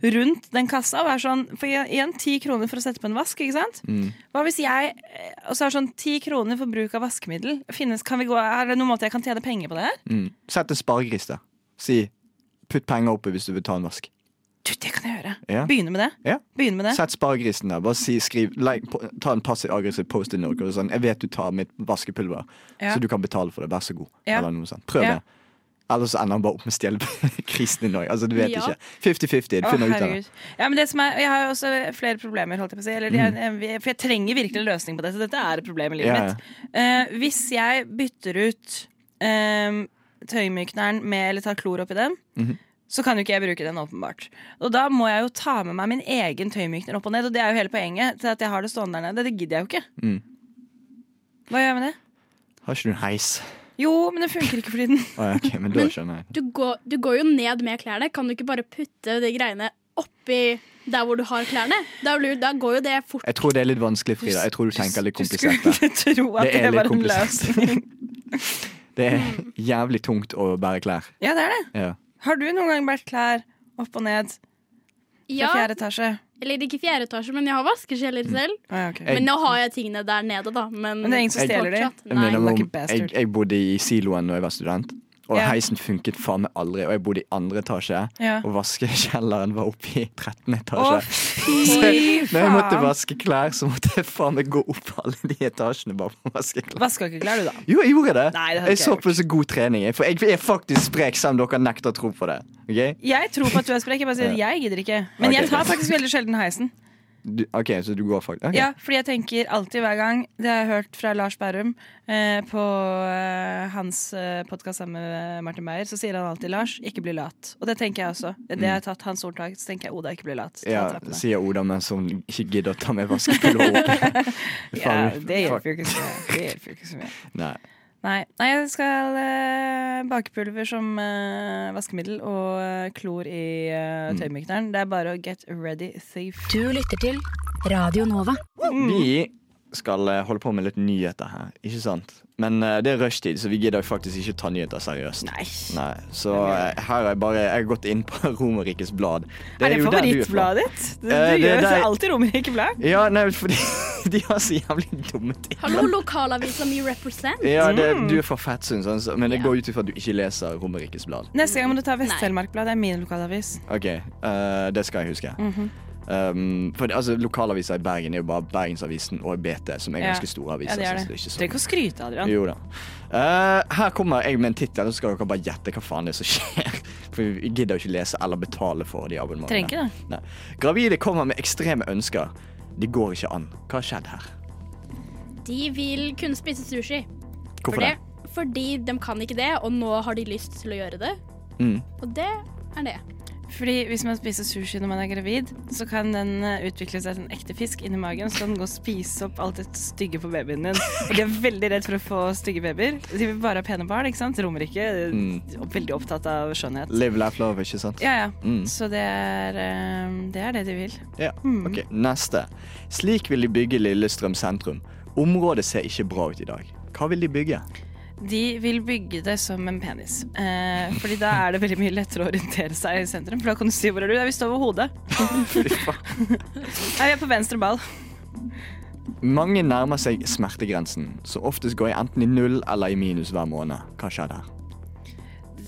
rundt den kassa. Og være sånn, for jeg- igjen, ti kroner for å sette på en vask, ikke sant?
Mm.
Hva hvis jeg eh, Og så er det sånn ti kroner for bruk av vaskemiddel. Finnes, kan vi gå, er det noen måte jeg kan tjene penger på det her?
Mm. Sett en sparegris der. Si 'putt penger oppi hvis du vil ta en vask'.
Du, det kan jeg gjøre.
Ja.
Begynne med det.
Ja.
Begynne med det.
Sett sparegrisen der. Bare si, skriv, legg, på- ta en passiv-aggressiv post-it-note. og Sånn, 'Jeg vet du tar mitt vaskepulver,
Ja.
så du kan betale for det. Vær så god.'
Ja.
Eller noe sånt. Prøv
Ja.
det. Ellers så ender han bare opp med å stjele krisen din òg. Altså, du vet
Ja.
ikke. 50-50. Du
Å,
finner ut av det.
herregud. Ja, men det som er, jeg har jo også flere problemer, holdt jeg på å si.
Mm.
Eller, jeg, for jeg trenger virkelig en løsning på dette. Dette er et problem i livet
Ja, ja.
mitt. Eh, hvis jeg bytter ut um, tøymykneren med eller tar klor oppi den,
Mhm.
så kan jo ikke jeg bruke den, åpenbart. Og da må jeg jo ta med meg min egen tøymykner opp og ned, og det er jo hele poenget til at jeg har det stående der nede. Det gidder jeg jo ikke.
Mm.
Hva gjør jeg med det?
Har ikke du en heis?
Jo, men det funker ikke fordi den
Å, ja, ok, men da skjønner jeg.
Du, går, du går jo ned med klærne. Kan du ikke bare putte de greiene oppi der hvor du har klærne? Da, blir, da går jo det fort.
Jeg tror det er litt vanskelig, Frida. Jeg tror du tenker litt
Du
komplisert der.
skulle tro at
Det er
det,
litt
var en
komplisert.
løsning.
Det er jævlig tungt å bære klær.
Ja, det er det.
Ja.
Har du noen gang båret klær opp og ned? Fra
Ja,
fjerde etasje.
eller ikke fjerde etasje, men jeg har vaskekjeller
Mm.
selv.
Ah, ja, ok.
Jeg-
Men nå har jeg tingene der nede, da. Men,
Men det er ingen som stjeler de.
fortsatt,
Jeg,
Nei.
minner meg
Lucky
om, jeg,
bastard.
jeg bodde i siloen da jeg var student, og
Ja.
heisen funket faen meg aldri. Og jeg bodde i andre etasje,
Ja.
og vaskekjelleren var oppe i 13.
Å,
etasje.
fy
Når jeg måtte
faen!
vaske klær, så måtte jeg faen meg gå opp alle de etasjene bare for å vaske klær.
Vaska ikke klær, du, da.
Jo, jeg gjorde det.
Nei, det hadde
jeg
ikke
så
jeg
på det som god trening. jeg, For jeg er faktisk sprek, selv om dere nekter å tro på det. Ok?
Jeg tror på at du er sprek. Jeg bare sier jeg gidder ikke. Men
Ok,
jeg tar
greit.
faktisk veldig sjelden heisen.
Du, ok, Så du går faktisk ok.
Ja, fordi jeg tenker alltid hver gang Det har jeg hørt fra Lars Berrum eh, på eh, hans eh, podkast sammen med Martin Beyer. Så sier han alltid 'Lars, ikke bli lat'. Og det tenker jeg også. Det har jeg tatt hans ordtak. Så tenker jeg 'Oda, ikke bli lat'. Ta
Ja,
trappene.
sier Oda mens hun ikke gidder å ta med vaskepulver opp.
ja,
Faen,
det
fuck.
hjelper jo ikke så mye. Det hjelper jo ikke så mye.
Nei.
Nei, nei jeg skal eh, bake pulver som eh, vaskemiddel og eh, klor i eh, tøymykneren. Det er bare å get ready thief. Mm.
Du lytter til Radio Nova.
Vi skal eh, holde på med litt nyheter her. Ikke sant? Men eh, det er rushtid, så vi gidder faktisk ikke ta nyheter seriøst.
Nei.
Nei, Så eh, her har jeg bare Jeg har gått inn på Romerrikes Blad.
Er det
jo der du er fra.
favorittbladet ditt? Du, du
Eh, det er
gjør
der-
så alltid Romerike-blad.
Ja, nei, fordi de har så jævlig dumme ting.
Hallo, lokalavisa mi represent.
Ja, det,
Mm.
Du er fra Fettsund, sånn, så- men det går ut ifra at du ikke leser Romerrikes Blad.
Neste gang må du ta Vest-Telemark-blad. Det er min lokalavis.
Ok, eh, det skal jeg huske.
Mhm.
um, for det- altså, lokalaviser i Bergen er jo bare Bergensavisen og BT, som er
Ja.
ganske store aviser.
Ja, det
så
er det.
det er ikke
Du
så-
trenger ikke å skryte, Adrian.
Jo da. Eh, her kommer jeg med en tittel, så skal dere bare gjette hva faen det er som skjer. For vi gidder jo ikke lese eller betale for de abonnementene.
Trenger ikke det.
Nei. Gravide kommer med ekstreme ønsker. De går ikke an. Hva har skjedd her?
De vil kunne spise sushi.
Hvorfor
Fordi-
det?
Fordi de kan ikke det, og nå har de lyst til å gjøre det.
Mm.
Og det er det.
Fordi hvis man spiser sushi når man er gravid, så kan den eh, utvikle seg til en ekte fisk inni magen, så kan den gå og spise opp alt det stygge på babyen din. Og de er veldig redd for å få stygge babyer. De vil bare ha pene barn, ikke sant? Romerike er veldig opptatt av skjønnhet.
Live, laugh, love, ikke sant?
Ja, ja.
Mm.
Så det er, eh, det er det de vil.
Ja,
Mm.
ok. Neste. Slik vil de bygge Lillestrøm sentrum. Området ser ikke bra ut i dag. Hva vil de bygge?
De vil bygge det som en penis. Eh, fordi da er det veldig mye lettere å orientere seg i sentrum. For da kan du si hvor er du? Ja, vi står ved hodet. Nei, vi er på venstre ball.
Mange nærmer seg smertegrensen, så oftest går jeg enten i null eller i minus hver måned. Hva skjedde her?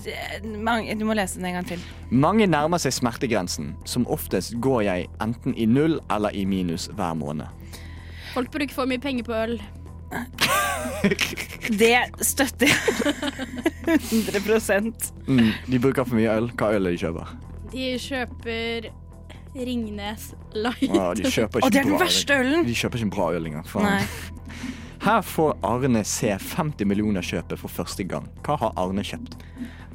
Det- mange- Du må lese den en gang til.
Mange nærmer seg smertegrensen. Som oftest går jeg enten i null eller i minus hver måned.
Folk bruker for mye penger på øl.
Det støtter jeg 100
Mm, de bruker for mye øl. Hva øl er det de kjøper?
De kjøper Ringnes Light.
Å, de kjøper ikke
Og det er den
bra
verste
øl.
ølen.
De kjøper ikke bra øl engang.
Nei.
Faen. Her får Arne se 50 millioner kjøpet for første gang. Hva har Arne kjøpt?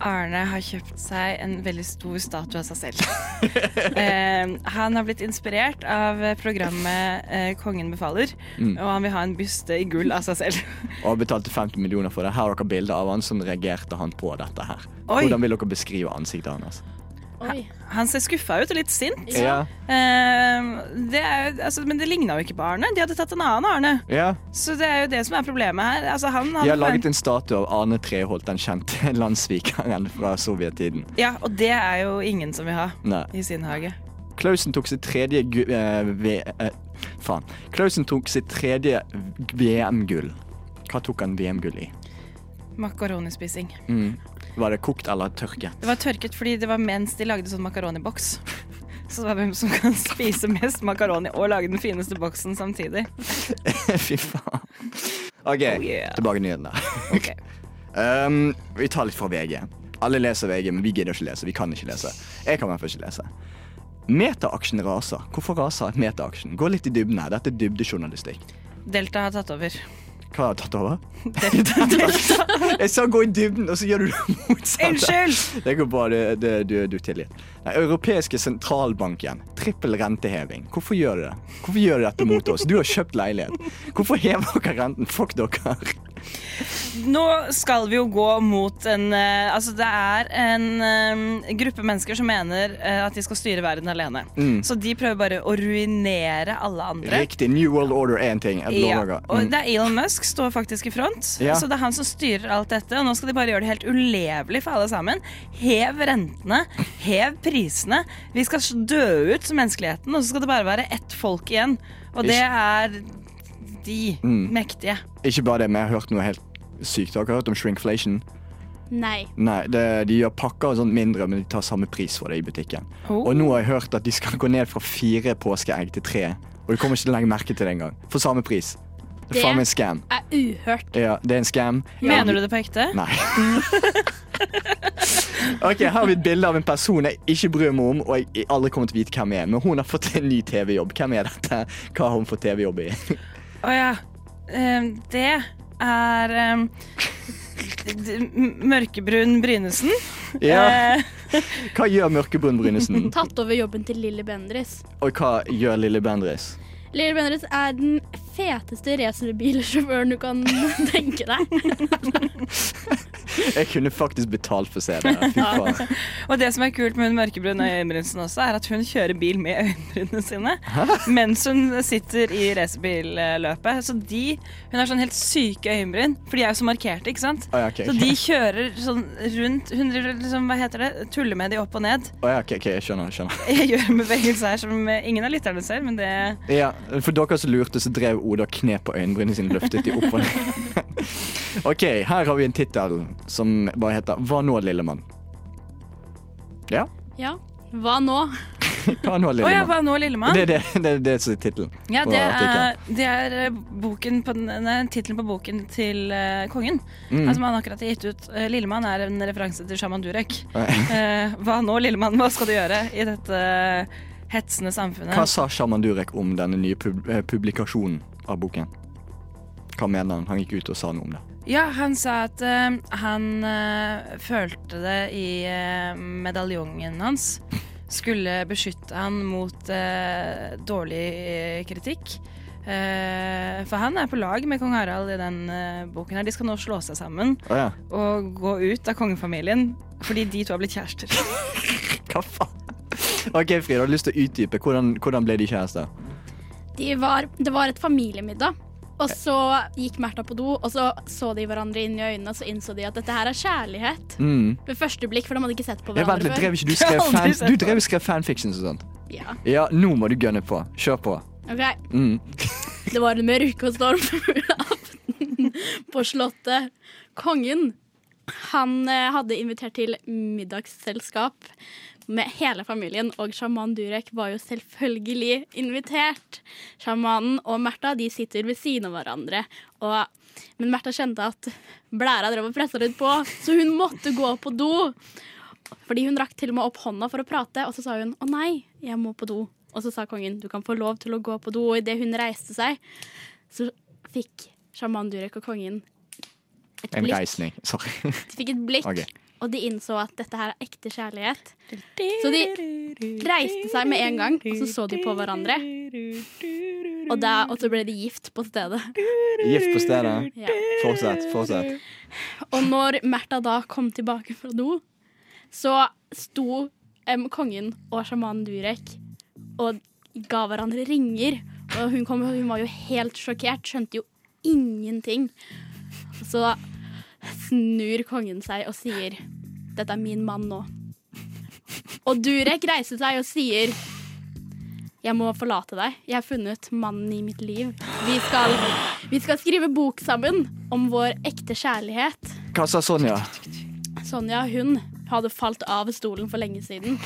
Arne har kjøpt seg en veldig stor statue av seg selv. eh, han har blitt inspirert av programmet eh, Kongen befaler,
Mm.
og han vil ha en byste i gull av seg selv.
Og betalte 50 millioner for det. Her har dere bilder av han. Sånn reagerte han på dette her.
Oi.
Hvordan vil dere beskrive ansiktet hans?
Oi.
Han ser skuffa ut og litt sint.
Ja.
Eh, det er, jo- altså, men det ligna jo ikke på Arne. De hadde tatt en annen Arne.
Ja.
Så det er jo det som er problemet her. Altså, han, han,
De har laget en statue av Arne Treholt, den kjente landssvikeren fra sovjettiden.
Ja, og det er jo ingen som vil ha
Nei.
i sin hage.
Klausen tok sitt tredje gu- eh, ve- eh, Faen. Klausen tok sitt tredje VM-gull. Hva tok han VM-gull i?
Makaronispising.
Var det kokt eller tørket?
Det var tørket fordi det var mens de lagde sånn makaroniboks. Så det var hvem som kan spise mest makaroni og lage den fineste boksen samtidig.
Fy faen. OK,
Oh, yeah.
tilbake til nyhetene.
Ok.
Um, vi tar litt fra VG. Alle leser VG, men vi gidder ikke lese. Vi kan ikke lese. Jeg kan i hvert fall ikke lese. Metaaksjen raser. Hvorfor raser metaaksjen? Gå litt i dybden her. Dette er dybdejournalistikk.
Delta har tatt over.
Hva har jeg tatt over?
Delta, Delta.
Jeg sa gå i dybden, og så gjør du det motsatte.
Unnskyld!
Det går bra, det, det, du, du tilgir. Den europeiske sentralbanken. Trippel renteheving. Hvorfor gjør du det? Hvorfor gjør du dette mot oss? Du har kjøpt leilighet. Hvorfor hever dere renten? Fuck dere.
Nå skal vi jo gå mot en eh, Altså, det er en eh, gruppe mennesker som mener eh, at de skal styre verden alene. Så de prøver bare å ruinere alle andre.
Riktig. New World Order er en ting. Jeg
Ja,
lover dere.
og
Mm.
det er Elon Musk står faktisk i front,
Ja.
så det er han som styrer alt dette. Og nå skal de bare gjøre det helt ulevelig for alle sammen. Hev rentene, hev prisene. Vi skal dø ut som menneskeligheten, og så skal det bare være ett folk igjen. Og det er de
Mm.
mektige.
Ikke bare det, men jeg har hørt noe helt sykt. Dere har hørt om shrinkflation?
Nei.
Nei, det, de gjør pakker og sånt mindre, men de tar samme pris for det i butikken.
Oh.
Og nå har jeg hørt at de skal gå ned fra fire påskeegg til tre. Og du kommer ikke til å legge merke til det engang. For samme pris. Det
Det-
er faen meg en scam.
Er uhørt.
Ja, det er en scam.
Mener du det på ekte?
Nei. ok, Her har vi et bilde av en person jeg ikke bryr meg om, og jeg aldri kommer til å vite hvem er. Men hun har fått en ny TV-jobb. Hvem er dette? Hva har hun fått TV-jobb i?
Å ja. Ehm, det er ehm, d- d- m- Mørkebrun Brynesen.
ja.
Eh,
Hva gjør Mørkebrun Brynesen?
Tatt over jobben til Lilly Bendriss.
Og hva gjør Lille Bendriss?
Lilly Bendriss er den feteste racerbilsjåføren du kan tenke deg.
Jeg kunne faktisk betalt for å se det. Fy faen.
Og det som er kult med hun mørkebrune øyenbrynsen også, er at hun kjører bil med øyenbrynene sine mens hun sitter i racebilløpet. Så de Hun har sånn helt syke øyenbryn, for de er jo så markerte, ikke sant?
Å, ja, ok,
Så
ok.
de kjører sånn rundt Hun driver liksom, hva heter det, tuller med de opp og ned.
Å ja, ok, ok, jeg skjønner. jeg skjønner
Jeg gjør en bevegelse her som eh, ingen av lytterne ser, men det
Ja, For dere som lurte, så drev Oda knep på øyenbrynene sine, løftet de opp og ned. OK, her har vi en tittel som bare heter Hva nå, lille mann? Ja,
Ja, hva nå?
hva nå,
Å
lille
ja,
mann?
hva nå, lillemann?
Det er det, det, er det som er tittelen.
Ja,
på
det
artikkelen.
er, det er eh, boken på den- nei, tittelen på boken til eh, kongen.
Mm.
eh, Som han akkurat har gitt ut. Eh, 'Lillemann' er en referanse til sjaman Durek. Eh, hva nå, Lillemann? Hva skal du gjøre i dette hetsende samfunnet?
Hva sa Shaman Durek om denne nye pub eh, publikasjonen av boken? Hva mener han? Han gikk ut og sa noe om det.
Ja, han sa at eh, han eh, følte det i eh, medaljongen hans. Skulle beskytte han mot eh, dårlig eh, kritikk. Eh, for han er på lag med kong Harald i den eh, boken her. De skal nå slå seg sammen
Å ja.
og gå ut av kongefamilien fordi de to har blitt kjærester.
Hva faen? OK, Frida, har du lyst til å utdype? Hvordan, hvordan ble de kjærester?
De var, det var et familiemiddag. Og så gikk Märtha på do, og så så de hverandre inn i øynene og så innså de at dette her er kjærlighet.
Mm.
Ved første blikk, for de hadde ikke sett
Jeg
på
vent
hverandre
litt,
før.
drev ikke du
Jeg har
skrev,
aldri
fan,
sett
du
det.
drev og skrev fanfictions og sånt?
Ja,
Ja, nå må du gønne på. Kjør på.
ok.
Mm.
Det var en mørk og stormfull aften på slottet. Kongen han eh, hadde invitert til middagsselskap med hele familien, og sjaman Durek var jo selvfølgelig invitert. Sjamanen og Märtha de sitter ved siden av hverandre, og, men Märtha kjente at blæra drev og pressa litt på, så hun måtte gå på do. Fordi hun rakk til og med opp hånda for å prate, og så sa hun 'Å nei, jeg må på do'. Og så sa kongen 'Du kan få lov til å gå på do', og idet hun reiste seg, så fikk sjaman Durek og kongen et
En
blikk.
reisning. Sorry.
De fikk et blikk,
Ok.
og de innså at dette her er ekte kjærlighet. Så de reiste seg med en gang, og så så de på hverandre. Og, da, og så ble de gift på stedet.
Gift på stedet.
Ja.
Fortsett, fortsett.
Og når Märtha da kom tilbake fra do, så sto em, kongen og sjamanen Durek og ga hverandre ringer. Og hun, kom, hun var jo helt sjokkert, skjønte jo ingenting. Så snur kongen seg og sier 'Dette er min mann nå'. Og Durek reiser seg og sier 'Jeg må forlate deg. Jeg har funnet mannen i mitt liv.' Vi skal, vi skal skrive bok sammen om vår ekte kjærlighet.
Hva sa Sonja?
Sonja hun hadde falt av stolen for lenge siden.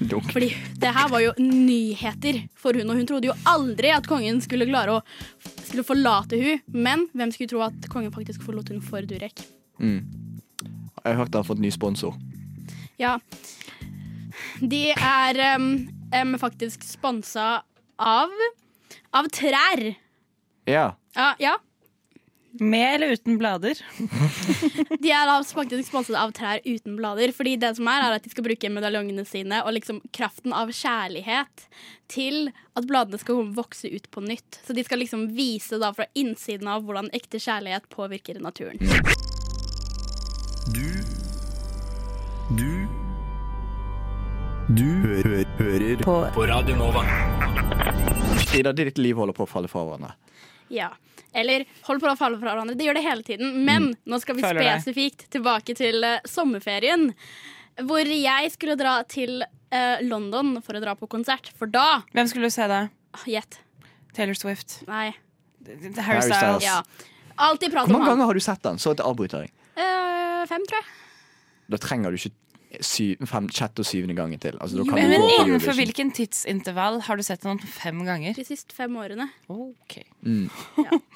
Dunk.
Fordi det her var jo nyheter for hun, og hun trodde jo aldri at kongen skulle klare å skulle forlate hun. Men hvem skulle tro at kongen faktisk forlot hun for Durek?
Jeg hørte han har fått ny sponsor.
Ja, de er em, em, faktisk sponsa av av trær.
Ja.
Ja, ja,
Med eller uten blader?
De er da faktisk sponset av trær uten blader. Fordi det som er, er at de skal bruke medaljongene sine og liksom kraften av kjærlighet til at bladene skal vokse ut på nytt. Så de skal liksom vise da fra innsiden av hvordan ekte kjærlighet påvirker naturen.
Du Du Du hø hø hører på. på Radio Nova.
Frida, ditt liv holder på å falle fra hverandre.
Ja. Eller hold på å falle fra hverandre. Det gjør det hele tiden. Men
Mm.
nå skal vi
Føler deg.
spesifikt tilbake til eh, sommerferien. Hvor jeg skulle dra til eh, London for å dra på konsert. For da ah,
Hvem skulle du se da?
Gjett.
Taylor Swift?
Nei.
Harry
Styles.
Styles?
Ja. Alltid prat
Hvor
om
mange
han.
ganger har du sett den? Så at jeg avbryter deg.
Eh, fem, tror jeg.
Da trenger du ikke sy- fem, sjette og syvende gangen til. Altså, da kan
Men,
du
men
gå på
innenfor
Eurovision.
hvilken tidsintervall har du sett den fem ganger?
de siste fem årene.
Ok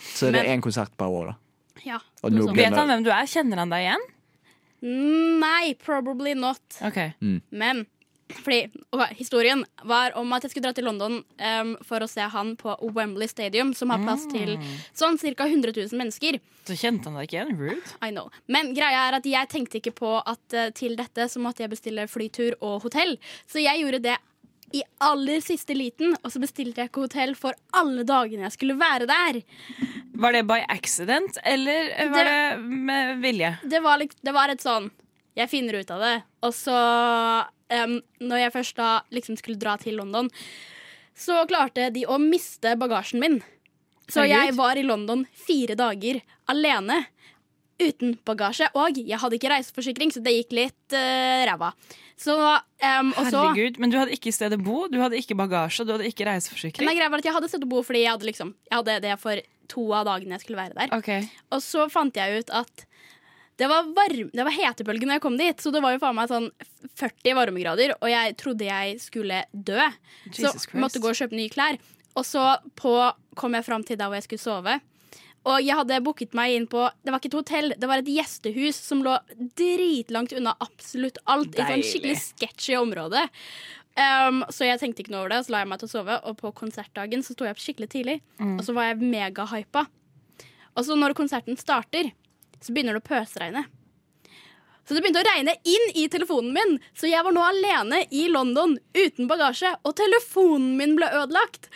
Så det er én konsert per år, da.
Ja.
Og
noe
nå
sånt.
ble-
Vet han hvem du er? Kjenner han deg igjen?
Nei, probably not.
Ok
Men fordi, ok, historien var om at jeg skulle dra til London em, for å se han på Wembley Stadium, som har plass til sånn ca. 100 000 mennesker.
Så kjente han deg ikke igjen? Rude.
I know. Men greia er at jeg tenkte ikke på at eh, til dette så måtte jeg bestille flytur og hotell. Så jeg gjorde det i aller siste liten, og så bestilte jeg ikke hotell for alle dagene jeg skulle være der.
Var det by accident, eller var det,
Det-
med vilje?
Det var, likt- det var et sånn Jeg finner ut av det. Og så, em, når jeg først da liksom skulle dra til London, så klarte de å miste bagasjen min. Så
Herregud.
jeg var i London fire dager alene. Uten bagasje. Og jeg hadde ikke reiseforsikring, så det gikk litt eh, ræva. Så, em, og så
Herregud, Men du hadde ikke sted å bo, du hadde ikke bagasje, du hadde ikke reiseforsikring.
Nei, greia var at jeg hadde sett å bo fordi jeg hadde, liksom, jeg hadde det for to av dagene jeg skulle være der.
Ok,
Og så fant jeg ut at det var, varm, det var hetebølge når jeg kom dit, så det var jo faen meg sånn 40 varmegrader, og jeg trodde jeg skulle dø.
Jesus
så måtte
Christ.
gå og kjøpe nye klær. Og så på, kom jeg fram til der hvor jeg skulle sove. Og jeg hadde booket meg inn på Det var ikke et hotell, det var et gjestehus som lå dritlangt unna absolutt alt. I sånn skikkelig sketchy område. Um, så jeg tenkte ikke noe over det, og så la jeg meg til å sove. Og på konsertdagen så sto jeg opp skikkelig tidlig, og så var jeg megahypa. Og så når konserten starter, så begynner det å pøsregne. Så det begynte å regne inn i telefonen min, så jeg var nå alene i London uten bagasje, og telefonen min ble ødelagt.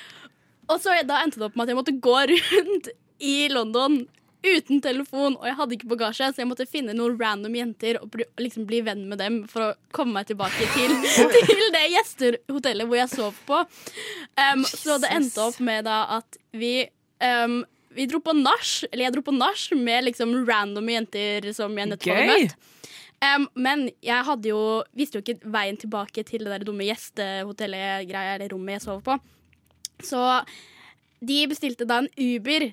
Og så da endte det opp med at jeg måtte gå rundt i London uten telefon, og jeg hadde ikke bagasje, så jeg måtte finne noen random jenter og bli, liksom bli venn med dem for å komme meg tilbake til, til det gjestehotellet hvor jeg sov på. Um, så det endte opp med da at vi um, vi dro på nach, eller jeg dro på nach med liksom random jenter som jeg nettopp hadde
Gøy.
møtt. Um, men jeg hadde jo, visste jo ikke veien tilbake til det der dumme gjestehotellet-greia, eller rommet jeg sov på. Så de bestilte da en Uber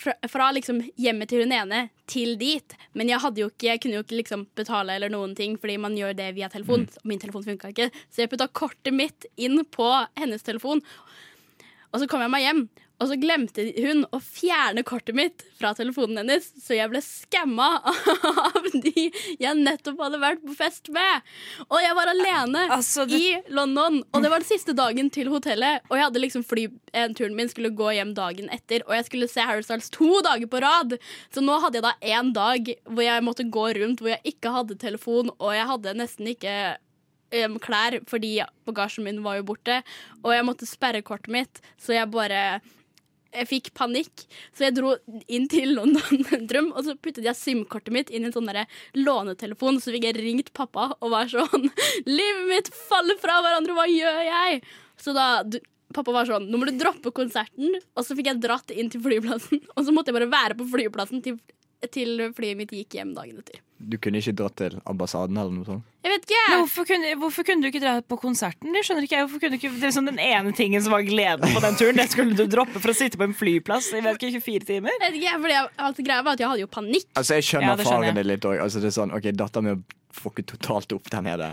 fra, fra liksom hjemmet til hun ene til dit. Men jeg, hadde jo ikke, jeg kunne jo ikke liksom betale eller noen ting, fordi man gjør det via telefon. Og Min telefon funka ikke, så jeg putta kortet mitt inn på hennes telefon. Og så kom jeg meg hjem, og så glemte hun å fjerne kortet mitt fra telefonen hennes, så jeg ble skamma av de jeg nettopp hadde vært på fest med. Og jeg var alene
Altså, du-
i London, og det var den siste dagen til hotellet. Og jeg hadde liksom fly, eh, turen min skulle gå hjem dagen etter, og jeg skulle se Harry Styles to dager på rad. Så nå hadde jeg da én dag hvor jeg måtte gå rundt, hvor jeg ikke hadde telefon, og jeg hadde nesten ikke em, klær fordi bagasjen min var jo borte, og jeg måtte sperre kortet mitt, så jeg bare jeg fikk panikk, så jeg dro inn til London Sentrum, og så puttet jeg SIM-kortet mitt inn i en sånn derre lånetelefon, så fikk jeg ringt pappa og var sånn Livet mitt faller fra hverandre, hva gjør jeg? Så da du, Pappa var sånn, nå må du droppe konserten, og så fikk jeg dratt inn til flyplassen, og så måtte jeg bare være på flyplassen til, til flyet mitt gikk hjem dagen etter.
Du kunne ikke dratt til ambassaden eller noe sånt?
Jeg vet ikke!
Men hvorfor, kunne, hvorfor kunne du ikke dra på konserten? Det skjønner ikke jeg. Hvorfor kunne du ikke, det er sånn Den ene tingen som var gleden på den turen, det skulle du droppe for å sitte på en flyplass i vet ikke, 24 timer.
Jeg vet ikke, fordi jeg, alt greia var at jeg hadde jo panikk.
Altså, jeg skjønner
Ja, det skjønner jeg.
faren din litt òg. Altså, det er sånn, ok, datteren min fucker totalt opp der nede.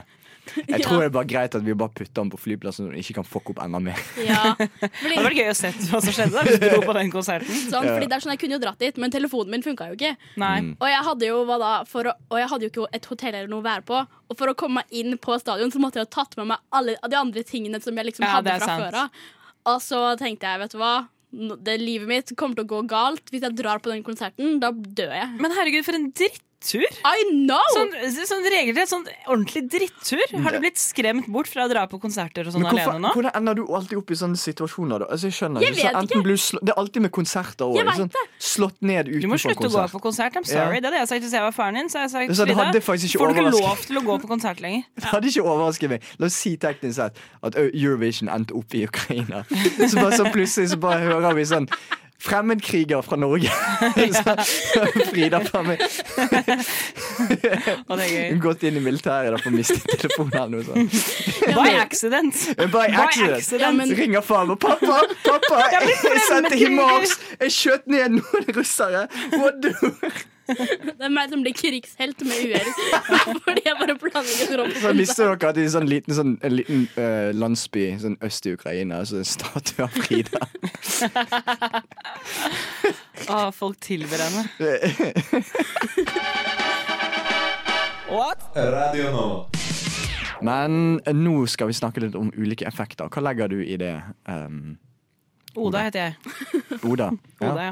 Jeg tror det er bare greit at vi bare putter den på flyplassen, så hun ikke kan fucke opp enda mer.
Sånn
Ja,
Det hadde vært gøy å se hva som skjedde da, hvis du dro på den konserten.
sånn, fordi det er sånn Jeg kunne jo dratt dit, men telefonen min funka jo ikke.
Nei.
Og jeg hadde jo, hva da, for å, og jeg hadde jo ikke et hotell eller noe å være på. Og for å komme meg inn på stadion så måtte jeg ha tatt med meg alle de andre tingene som jeg liksom
Ja,
hadde
det er
fra
sant.
før av. Og så tenkte jeg, vet du hva, Nå- det livet mitt kommer til å gå galt hvis jeg drar på den konserten. Da dør jeg.
Men herregud, for en drittur!
I know!
Sånn, sånn regelrett, sånn ordentlig drittur. Har du blitt skremt bort fra å dra på konserter og sånn
Men hvorfor,
alene nå?
hvordan ender du alltid opp i sånne situasjoner? da? Altså, jeg skjønner
Jeg
ikke.
vet
Så enten
ikke.
blir du slå, det er alltid med konserter òg.
Jeg vet
Sånn, slått ned
Du
utenfor
må slutte å gå
konsert.
på konsert. I'm sorry. Det hadde jeg sagt hvis jeg var faren din. Så hadde jeg
Så
sagt,
det hadde faktisk
Frida,
ikke
får du ikke
overrasket-
lov til å gå på konsert lenger?
Det hadde ikke overrasket meg. La oss si teknisk sett at Ø- Eurovision endte opp i Ukraina. Så, bare, så plutselig så bare hører vi sånn Fremmedkriger fra Norge. Så, Frida faen meg
Og det er gøy.
gått inn i militæret da, for å miste telefonen eller noe sånt.
By accident.
Eh, By accident.
accident.
Ringer faren og pappa, pappa, jeg, jeg sendte
fremmedkriger.
Himars, jeg skjøt ned noen russere. What do?
Det er meg som blir krigshelt med uhell. Fordi jeg bare planlegger å dra
Så
på konsert.
visste dere at i en sånn liten, sånn, en liten eh, landsby sånn øst i Ukraina, så er det en statue av Frida.
Å, folk tilber henne.
Men eh, nå skal vi snakke litt om ulike effekter. Hva legger du i det, um,
Oda heter jeg.
Oda?
Oda, ja.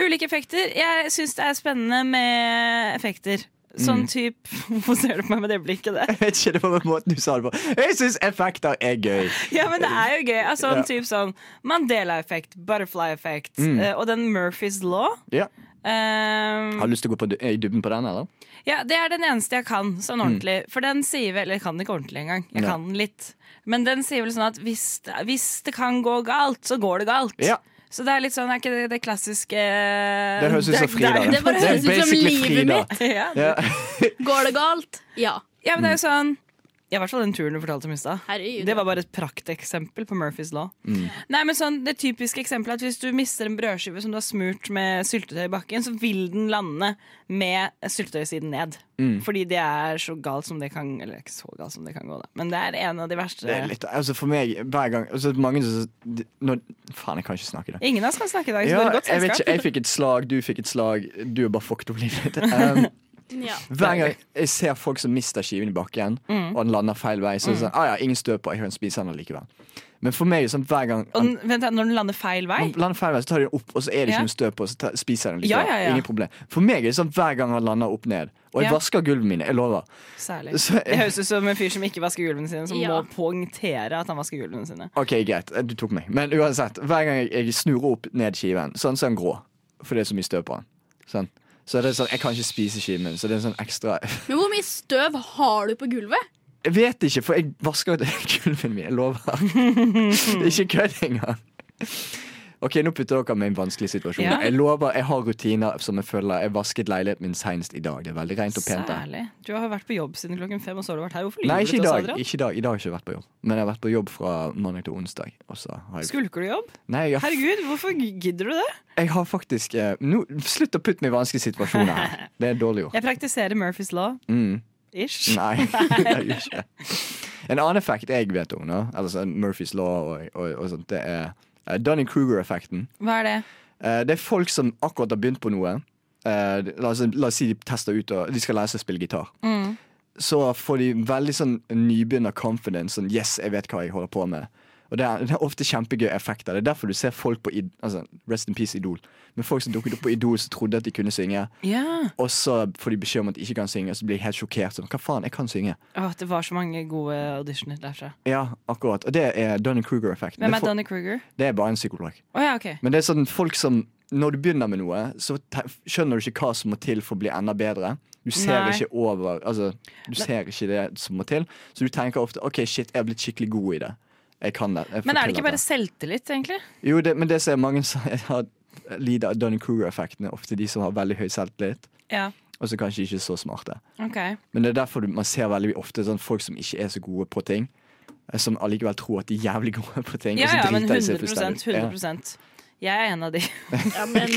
Ulike effekter. Jeg syns det er spennende med effekter.
Mm.
Sånn typ Hvorfor ser du på meg med det blikket der?
Jeg vet ikke, det var måten du sa det på. Jeg syns effekter er gøy.
Ja, men det er jo gøy. Altså,
Ja. Mm.
sånn typ sånn Mandela-effekt, butterfly-effekt eh, og den Murphys law.
Ja.
Eh,
Har du lyst til å gå på, du- i dybden på den, eller?
ja, det er den eneste jeg kan sånn
Mm.
ordentlig. For den sier vel Eller jeg kan den ikke ordentlig engang. Jeg
Ja.
kan den litt. Men den sier vel sånn at hvis, det- hvis det kan gå galt, så går det galt.
Ja.
Så det er litt sånn, er ikke det det klassiske eh,
Det høres ut som Frida.
Eh, det bare
er
høres ut som
basically
livet
Frida.
Ja.
Ja.
Går det galt? Ja.
ja, men
Mm.
det er jo sånn ja, I hvert fall den turen du fortalte om i stad.
Herregud.
Det var bare et prakteksempel på Murphys law.
Mm.
Nei, men sånn, Det typiske eksempelet er at hvis du mister en brødskive som du har smurt med syltetøy i bakken, så vil den lande med syltetøysiden ned.
Mm.
Fordi det er så galt som det kan Eller ikke så galt som det kan gå, da. Men det er en av de verste
Det er litt, altså for meg, hver gang altså mange som de- når, Faen, jeg kan ikke snakke i dag.
Ingen av oss kan snakke i dag, så
Ja,
det er godt
jeg, vet
selskap.
ikke, jeg fikk et slag, du fikk et slag. Du er bare fucked opp livet. Um,
Ja.
hver gang jeg ser folk som mister skiven i bakken,
Mm.
og den lander feil vei, så er det sånn, ah, ja, ingen støt på, jeg kan spise den likevel. Men for meg er det sånn hver gang
Og den, vent, da, når den lander feil vei?
Han lander feil vei, så tar de den opp, og så er det ikke
Ja.
noe støv på, så ta, spiser jeg den
Ja,
likevel.
ja, ja.
Ingen problem. For meg er det sånn hver gang han lander opp ned. Og jeg
Ja.
vasker gulvene mine, jeg lover.
Særlig.
Så-
Det høres ut som en fyr som ikke vasker gulvene sine, som
Ja.
må poengtere at han vasker gulvene sine.
Ok, greit, du tok meg. Men uansett, hver gang jeg, jeg snur opp ned skiven, sånn så er den grå. For det er så mye støv på den. Sånn. Så det er sånn, jeg kan ikke spise skiven min, så det er sånn ekstra
Men hvor mye støv har du på gulvet?
Jeg vet ikke, for jeg vasker jo gulvene mine, jeg lover. Det er ikke kødd engang. Ok, Nå putter dere meg i en vanskelig situasjon.
Ja.
Jeg lover, jeg har rutiner som jeg følger. Jeg vasket leiligheten min senest i dag. Det er veldig rent og pent. der.
Særlig. Du har vært på jobb siden klokken fem, og så har du vært her. Hvorfor
Nei,
lyver du
ikke i
til oss,
dag.
Adrian?
Ikke i dag. I dag har jeg ikke vært på jobb. Men jeg har vært på jobb fra mandag til onsdag. Og så har jeg...
Skulker du jobb?
Nei, jeg har,
Herregud, hvorfor gidder du det?
jeg har faktisk eh, nå- Slutt å putte meg i vanskelige situasjoner her. Det er dårlig gjort.
Jeg praktiserer Murphys law.
Mm.
Ish.
Nei, det gjør ikke En annen effekt jeg vet om, nå, eller sånn Murphys law og, og, og sånt, det er eh, Dunning-Kruger-effekten.
Hva er det?
Eh, det er folk som akkurat har begynt på noe. Eh, la, oss, la oss si de tester ut og de skal lære seg å spille gitar.
Mm.
Så får de veldig sånn nybegynner-confidence. Sånn, 'Yes, jeg vet hva jeg holder på med'. Og Det er, det er ofte kjempegøye effekter. Det er derfor du ser folk på Id- altså, Rest in Peace Idol. Men folk som dukket opp på Idol som trodde at de kunne synge,
Ja.
og så får de beskjed om at de ikke kan synge, og så blir de helt sjokkert. Sånn, 'Hva faen, jeg kan synge'.
Åh, det var så mange gode auditioner derfra.
Ja, akkurat. Og det er Dunning-Kruger-effekten.
Hvem
Det
er
er fol-
Donny Kruger?
Det er bare en psykolog.
Å ja, ok.
Men det er sånn folk som Når du begynner med noe, så te- skjønner du ikke hva som må til for å bli enda bedre. Du ser
Nei.
ikke over Altså, du ser ikke det som må til. Så du tenker ofte OK, shit, jeg er blitt skikkelig god i det. Jeg kan det. Jeg får
Men er det
til
ikke bare
dette.»
selvtillit, egentlig?
Jo, det, men det som er mange som har lider av Dunning-Kruger-effekten, er ofte de som har veldig høy selvtillit,
Ja,
og så kanskje ikke så smarte.
ok.
Men det er derfor du- man ser veldig ofte sånn folk som ikke er så gode på ting. eh, Som allikevel tror at de er jævlig gode på ting.
Ja,
og så
ja, men
driter de seg
100
fullstendig ut. Ja.
100 Jeg er en av de.
Ja, men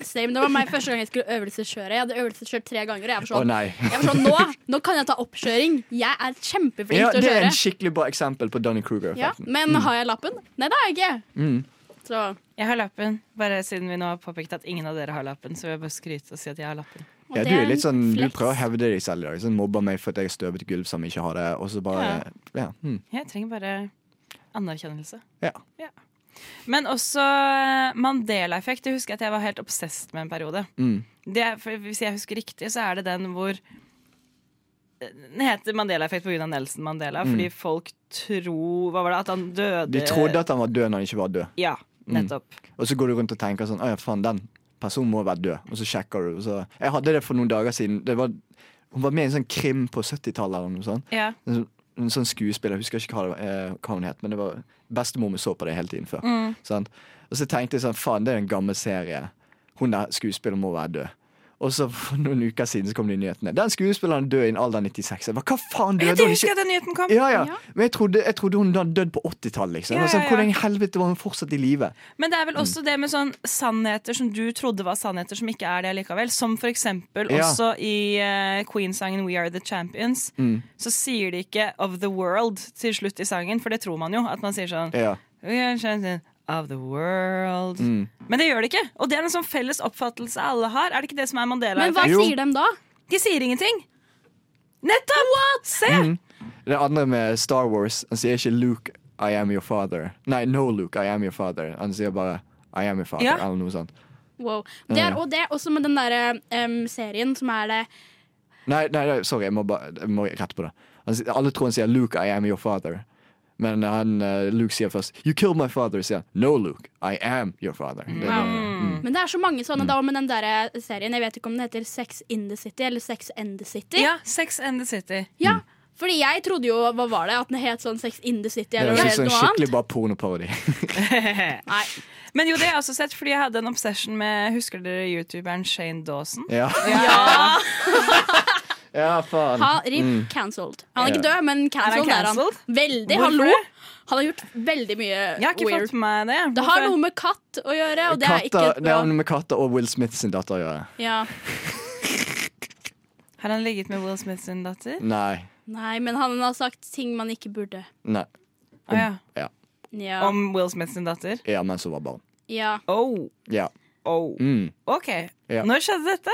same. Det var meg første gang jeg skulle øvelseskjøre. Jeg hadde øvelseskjørt tre ganger. Og jeg var
Å
sånn,
nei.
jeg var sånn nå, nå kan jeg ta oppkjøring. Jeg er kjempeflink
Ja,
til å
det er
kjøre.
en Mm. skikkelig bra eksempel på Donny Kruger.
Ja, men har jeg lappen? Nei, det har jeg ikke.
Mm.
Så
Jeg har lappen, bare siden vi nå har påpekt at ingen av dere har lappen. Så vil jeg bare skryte og si at jeg har lappen.
og
Ja,
det
du er
en
litt sånn, du
flex.
prøver å hevde deg selv i dag. Sånn, mobber meg for at jeg har støvet gulv som ikke har det. Og så bare, ja. hmm.
Jeg trenger bare anerkjennelse.
ja.
Men også eh, Mandela-effekt. Det husker jeg at jeg var helt obsesst med en periode.
Mm.
Det, er- for hvis jeg husker riktig, så er det den hvor eh, Den heter Mandela-effekt pga. Nelson Mandela, fordi folk tror Hva var det? At han døde
Mm. De Mm. trodde at han var død når han ikke var død.
Ja, nettopp.
Og så går du rundt og tenker sånn, «Å ja, faen, den personen må være død. Og så sjekker du. Og så. Jeg hadde det for noen dager siden. Det var, hun var med i en sånn krim på 70-tallet eller noe sånt.
Ja.
En sånn- En sånn skuespiller, jeg husker ikke hva, det, var- eh, hva hun het, men det var bestemor mi så på det hele tiden før.
Mm.
Sant? Og så tenkte jeg sånn, faen, det er en gammel serie. Hun der skuespilleren må være død. Og så for noen uker siden så kom det i nyhetene. Den skuespilleren død i en alder av 96. Jeg bare, hva faen
Ja,
døde
det
hun
husker
ikke?
jeg at den nyheten kom!
Ja, ja. Men jeg trodde, jeg trodde hun hadde dødd på 80-tallet, liksom.
Ja,
Og sånn,
ja, ja.
Hvordan i helvete var hun fortsatt i live?
Men det er
Mm.
vel også det med sånn sannheter som du trodde var sannheter, som ikke er det likevel. Som for eksempel
Ja.
også i eh, Queen-sangen We Are The Champions.
Mm.
Så sier de ikke Of The World til slutt i sangen, for det tror man jo. At man sier sånn
Ja.
We are champions of the world.
Mm.
Men det gjør det ikke. Og det er en sånn felles oppfattelse alle har. Er det ikke det som er Mandela?
Men hva
Jo.
sier de da?
De sier ingenting! Nettopp! Se!
Mm. Det andre med Star Wars, han sier ikke 'Luke, I am your father'. Nei, 'No, Luke, I am your father'. Han sier bare 'I am your father',
Ja.
eller noe sånt.
Wow. Det er, og det er også med den derre em, serien som er det
Nei, nei, nei sorry, jeg må, ba, jeg må rette på det. Han, sier- alle tror han sier 'Luke, I am your father'. Men han, eh, Luke sier først 'You killed my father'. sier han 'No, Luke, I am your father'. Det, er det.
Mm. Men det er så mange
Mm.
sånne da, og med den der eh, serien. Jeg vet ikke om den heter Sex in the City eller Sex and the City.
Ja, Sex and the City.
Ja,
Mm.
fordi jeg trodde jo, hva var det, at den het sånn Sex in the City
Det
eller
er
noe
sånn
annet.
skikkelig bare pornoparodi.
Nei.
Men jo, det har jeg også sett, fordi jeg hadde en obsession med Husker dere youtuberen Shane Dawson?
Ja. ja, faen.
Ha, RIP cancelled. Han er ikke død, men cancelled
Mm. Er
er,
han
han. Veldig.
Hvorfor
Hallo.
det?
Han har gjort veldig mye
Jeg har ikke
weird.
fått med meg det.
Det har noe med katt å gjøre, og det er ikke
Katter-
et
det
bra
har noe med katter og Will Smith sin datter å gjøre.
ja.
Har han ligget med Will Smith sin datter?
Nei.
Nei, men han har sagt ting man ikke burde.
Nei.
Å ja.
Ja.
Ja.
Om Will Smith sin datter?
ja, mens hun var barn.
ja.
Oh,
Ja.
oh.
Mm.
Ok.
Ja.
Når skjedde dette?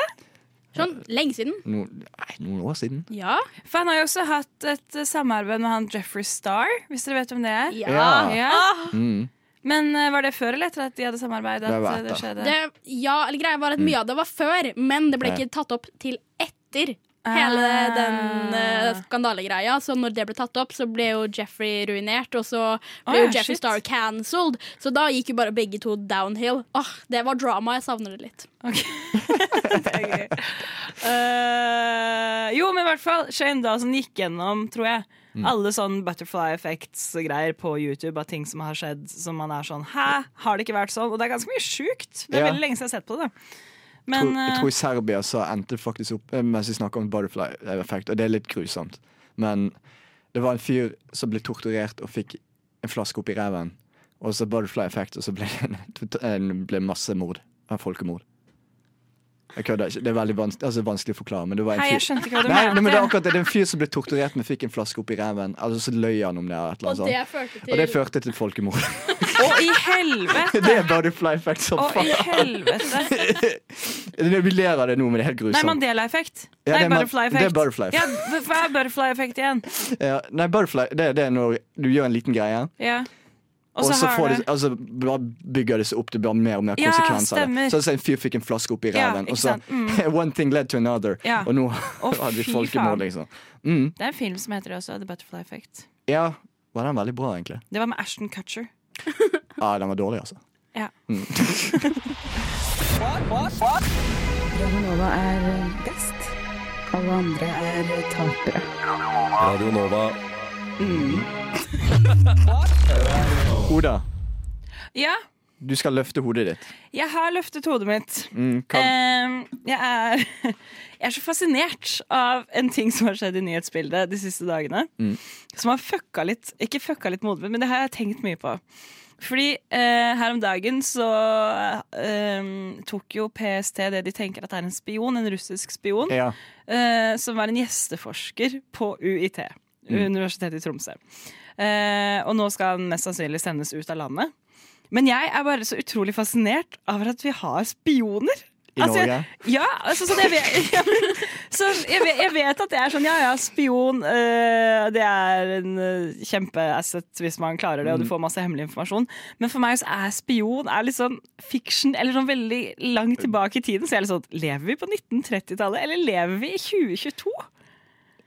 Sånn lenge siden.
No, nei, noen år siden.
Ja.
For han har jo også hatt et eh, samarbeid med han Jeffrey Star, hvis dere vet hvem det er.
Ja.
Ja.
Ja.
Mm.
Men eh, var det før eller etter at de hadde samarbeid?
Det
At
var
eh, det Mm.
etter.
skjedde?
Det, ja, eller greia var at mye av det var før, men det ble ikke tatt opp til etter. Hele
Ah.
den eh, skandalegreia. Så når det ble tatt opp, så ble jo Jeffrey ruinert. Og så
Ah,
ble jo
ja,
Jeffrey
shit.
Star cancelled. Så da gikk jo bare begge to downhill. Åh, Det var drama. Jeg savner det litt.
Eh, jo, men i hvert fall Shane Dawson gikk gjennom, tror jeg,
Mm.
alle sånn butterfly effects-greier på YouTube av ting som har skjedd, som man er sånn Hæ, har det ikke vært sånn? Og det er ganske mye sjukt. Det er
Ja.
veldig lenge siden jeg har sett på det. da.
Tror,
Men
jeg
eh,
tror i Serbia så endte det faktisk opp eh, Mens vi snakker om butterfly effect, og det er litt grusomt. Men det var en fyr som ble torturert og fikk en flaske opp i ræven. Og så butterfly effect, og så ble det en, en, ble masse mord. En folkemord. Jeg kødder ikke. Det er veldig vanskelig, altså, vanskelig å forklare, men det var en
Hei, jeg
fyr
skjønte ikke hva du
Nei, nei, men det er
mente.
akkurat det. Det er en fyr som ble torturert, men fikk en flaske opp i ræven. Altså, så løy han om det. eller et eller
Og
annet sånt.
det førte
Og det
til
førte til folkemord.
Å, i helvete!
Det er butterfly effect som
Å, i
faen.
helvete!
Vi ler av det nå, men det er helt
Nei,
grusomt.
Mandela-effekt.
Ja, det
Nei,
er man-
butterfly-effekt.
det er butterfly.
Ja, hva- hva er butterfly-effekt igjen?
Ja, nei, butterfly, det, det er når du gjør en liten greie,
Ja.
og så
har
får det,
det-
altså, bare bygger det seg opp til bare mer og mer
Ja,
konsekvenser. av
stemmer.
det. så altså, en fyr fikk en flaske opp i
Ja,
ræven,
ikke
og så
sant? Mm.
One thing led to another.
Ja.
Og nå
Å,
hadde vi
fy faen.
folkemord, liksom. Mm,
Det er en film som heter det også, The Butterfly Effect.
ja, var den veldig bra, egentlig?
Det var med Ashton Cutcher.
Ja, den var dårlig, altså.
Ja.
Radionova er eh, best. Alle andre er eh, tapere.
Radio Nova.
Oda,
Ja,
du skal løfte hodet ditt.
jeg har løftet hodet mitt.
Mm, hva-
Ehm, jeg, er, jeg er så fascinert av en ting som har skjedd i nyhetsbildet de siste dagene.
Mm.
Som har fucka litt, ikke fucka litt modet mitt, men det har jeg tenkt mye på. Fordi eh, her om dagen så ehm, tok jo PST det de tenker at er en spion, en russisk spion.
ja.
eh, som var en gjesteforsker på UiT,
Mm.
Universitetet i Tromsø. Eh, og nå skal han mest sannsynlig sendes ut av landet. Men jeg er bare så utrolig fascinert over at vi har spioner.
I Norge?
Ja, altså, sånn jeg, vet, ja, men- så jeg, vet, jeg vet at det er sånn Ja, ja, spion eh, Det er en eh, kjempeasset hvis man klarer det, og du
Mm.
får masse hemmelig informasjon. Men for meg så er spion er litt sånn fiction, eller sånn veldig langt tilbake i tiden. Så jeg er litt sånn Lever vi på 1930-tallet, eller lever vi i 2022?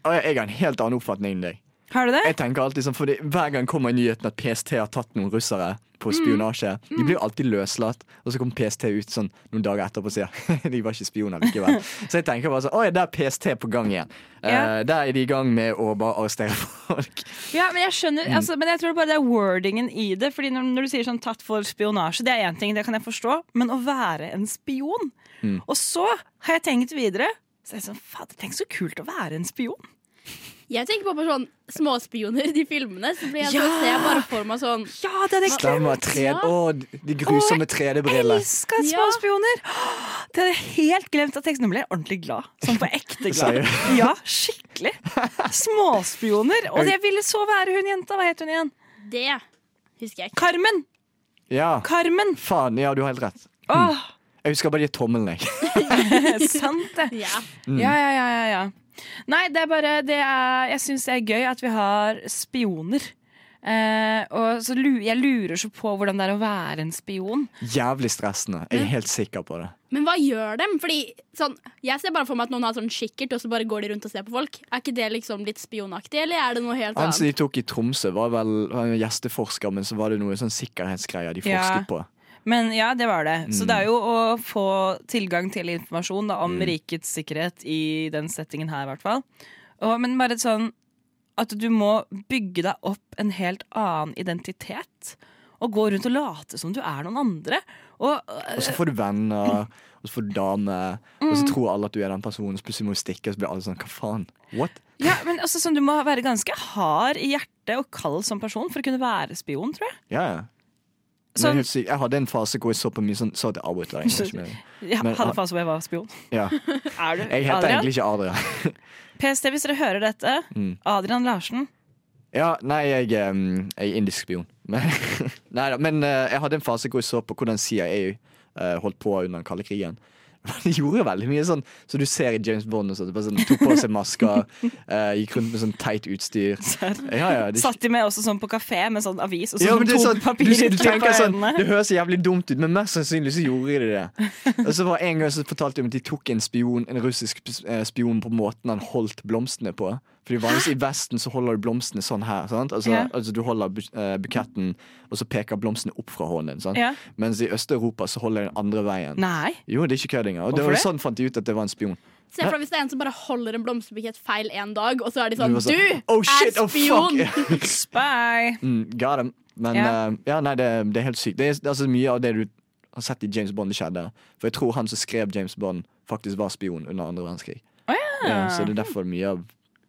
Å, jeg jeg har en helt annen oppfatning enn deg.
Har du det?
Jeg tenker alltid sånn, fordi Hver gang kommer nyheten at PST har tatt noen russere
Mm.
på spionasje, de blir jo alltid løslatt, og så kommer PST ut sånn noen dager etterpå og sier de var ikke spioner likevel. Så jeg tenker bare sånn Oi, der er PST på gang igjen.
Ja.
Eh, der er de i gang med å bare arrestere folk.
Ja, men jeg skjønner
Mm.
altså, Men jeg tror bare det er wordingen i det. Fordi når, når du sier sånn tatt for spionasje, det er én ting, det kan jeg forstå. Men å være en spion
Mm.
Og så har jeg tenkt videre. Så er jeg sånn, Fader, tenk så kult å være en spion.
Jeg tenker på bare sånn småspioner i de filmene. Så blir jeg
Ja!
så ser jeg bare for meg sånn
Ja, det er det
Stemmer. Tre,
Ja.
å, de grusomme 3D-brillene.
Elska
Ja.
småspioner! Åh, Det hadde jeg helt glemt av teksten. Nå ble jeg ordentlig glad. Sånn på ekte glad.
Seriøst?
Ja, skikkelig. Småspioner. Og jeg ville så være hun jenta. Hva het hun igjen?
Det husker jeg ikke.
Carmen!
Ja.
Carmen!
Faen, ja, du har helt rett.
Åh,
Jeg husker bare de tommelen, jeg.
sant det.
Ja.
Ja, ja, ja, ja, ja. Nei, det er bare det er, Jeg syns det er gøy at vi har spioner. Eh, og så lu- Jeg lurer så på hvordan det er å være en spion.
Jævlig stressende. Jeg er helt sikker på det.
Men hva gjør dem? Fordi sånn, Jeg ser bare for meg at noen har sånn kikkert, og så bare går de rundt og ser på folk. Er ikke det liksom litt spionaktig, eller er det noe helt
Han som
annet?
de tok i Tromsø, var vel han var gjesteforsker, men så var det noe sånn sikkerhetsgreier de
Ja.
forsket på.
Men ja, det var det. Så det er jo å få tilgang til informasjon da, om rikets sikkerhet i den settingen her, i hvert fall. Og, men bare sånn at du må bygge deg opp en helt annen identitet. Og gå rundt og late som du er noen andre. Og
Og så får du venner, og så får du dame, og så tror alle at du er den personen, så plutselig må du stikke, og så blir alle sånn hva faen? What?
Ja, men altså, sånn, Du må være ganske hard i hjertet og kald som person for å kunne være spion, tror jeg.
Ja, ja. Men
Sånn-
helt sykt. Jeg hadde en fase hvor jeg så på mye sånn Så til Abotlar. Ja.
Jeg
Men- ah.
hadde fase hvor jeg var spion. Er du
Jeg heter egentlig Mm. ikke Adrian.
PST, hvis dere hører dette. Adrian Larsen.
Ja, nei, jeg, em, jeg er indisk spion. Men, neida, men eh, jeg hadde en fase hvor jeg så på hvordan CIA eh, holdt på under den kalde krigen. De gjorde veldig mye sånn Så du ser i James Bond og sånt. Bare sånn, tok på seg masker, eh, gikk rundt med sånn teit utstyr. Ja, ja, det,
Satt de med også sånn på kafé med sånn avis og
ja,
sånn
men det, er
to
sånn, du,
papirer
du
til på
tenker sånn Det
øynene.
høres jævlig dumt ut, men mest sannsynlig så gjorde de det. Og så var en gang så fortalte de om at de tok en spion En russisk sp- eh, spion på måten han holdt blomstene på. Fordi vanligvis i Vesten så holder du blomstene sånn her. Sant? Altså,
Ja.
altså Du holder bu- eh, buketten, og så peker blomstene opp fra hånden. Sant?
Ja.
Mens i Øst-Europa så holder de den andre veien.
Nei.
Jo, det er ikke kødd engang. Og det var
Hvorfor det?
sånn fant de ut at det var en spion.
Se for deg hvis det er en som bare holder en blomsterbukett feil en dag, og så er de sånn
Det
Du,
var sånn, oh, shit,
er
oh, fuck!»
spion!
Spy.
Mm, got him. Men
Ja.
ja, ja nei, det, det er helt sykt. Det er, det er altså mye av det du har sett i James Bond, det skjedde. For jeg tror han som skrev James Bond, faktisk var spion under andre verdenskrig. Ja, så det er derfor mye av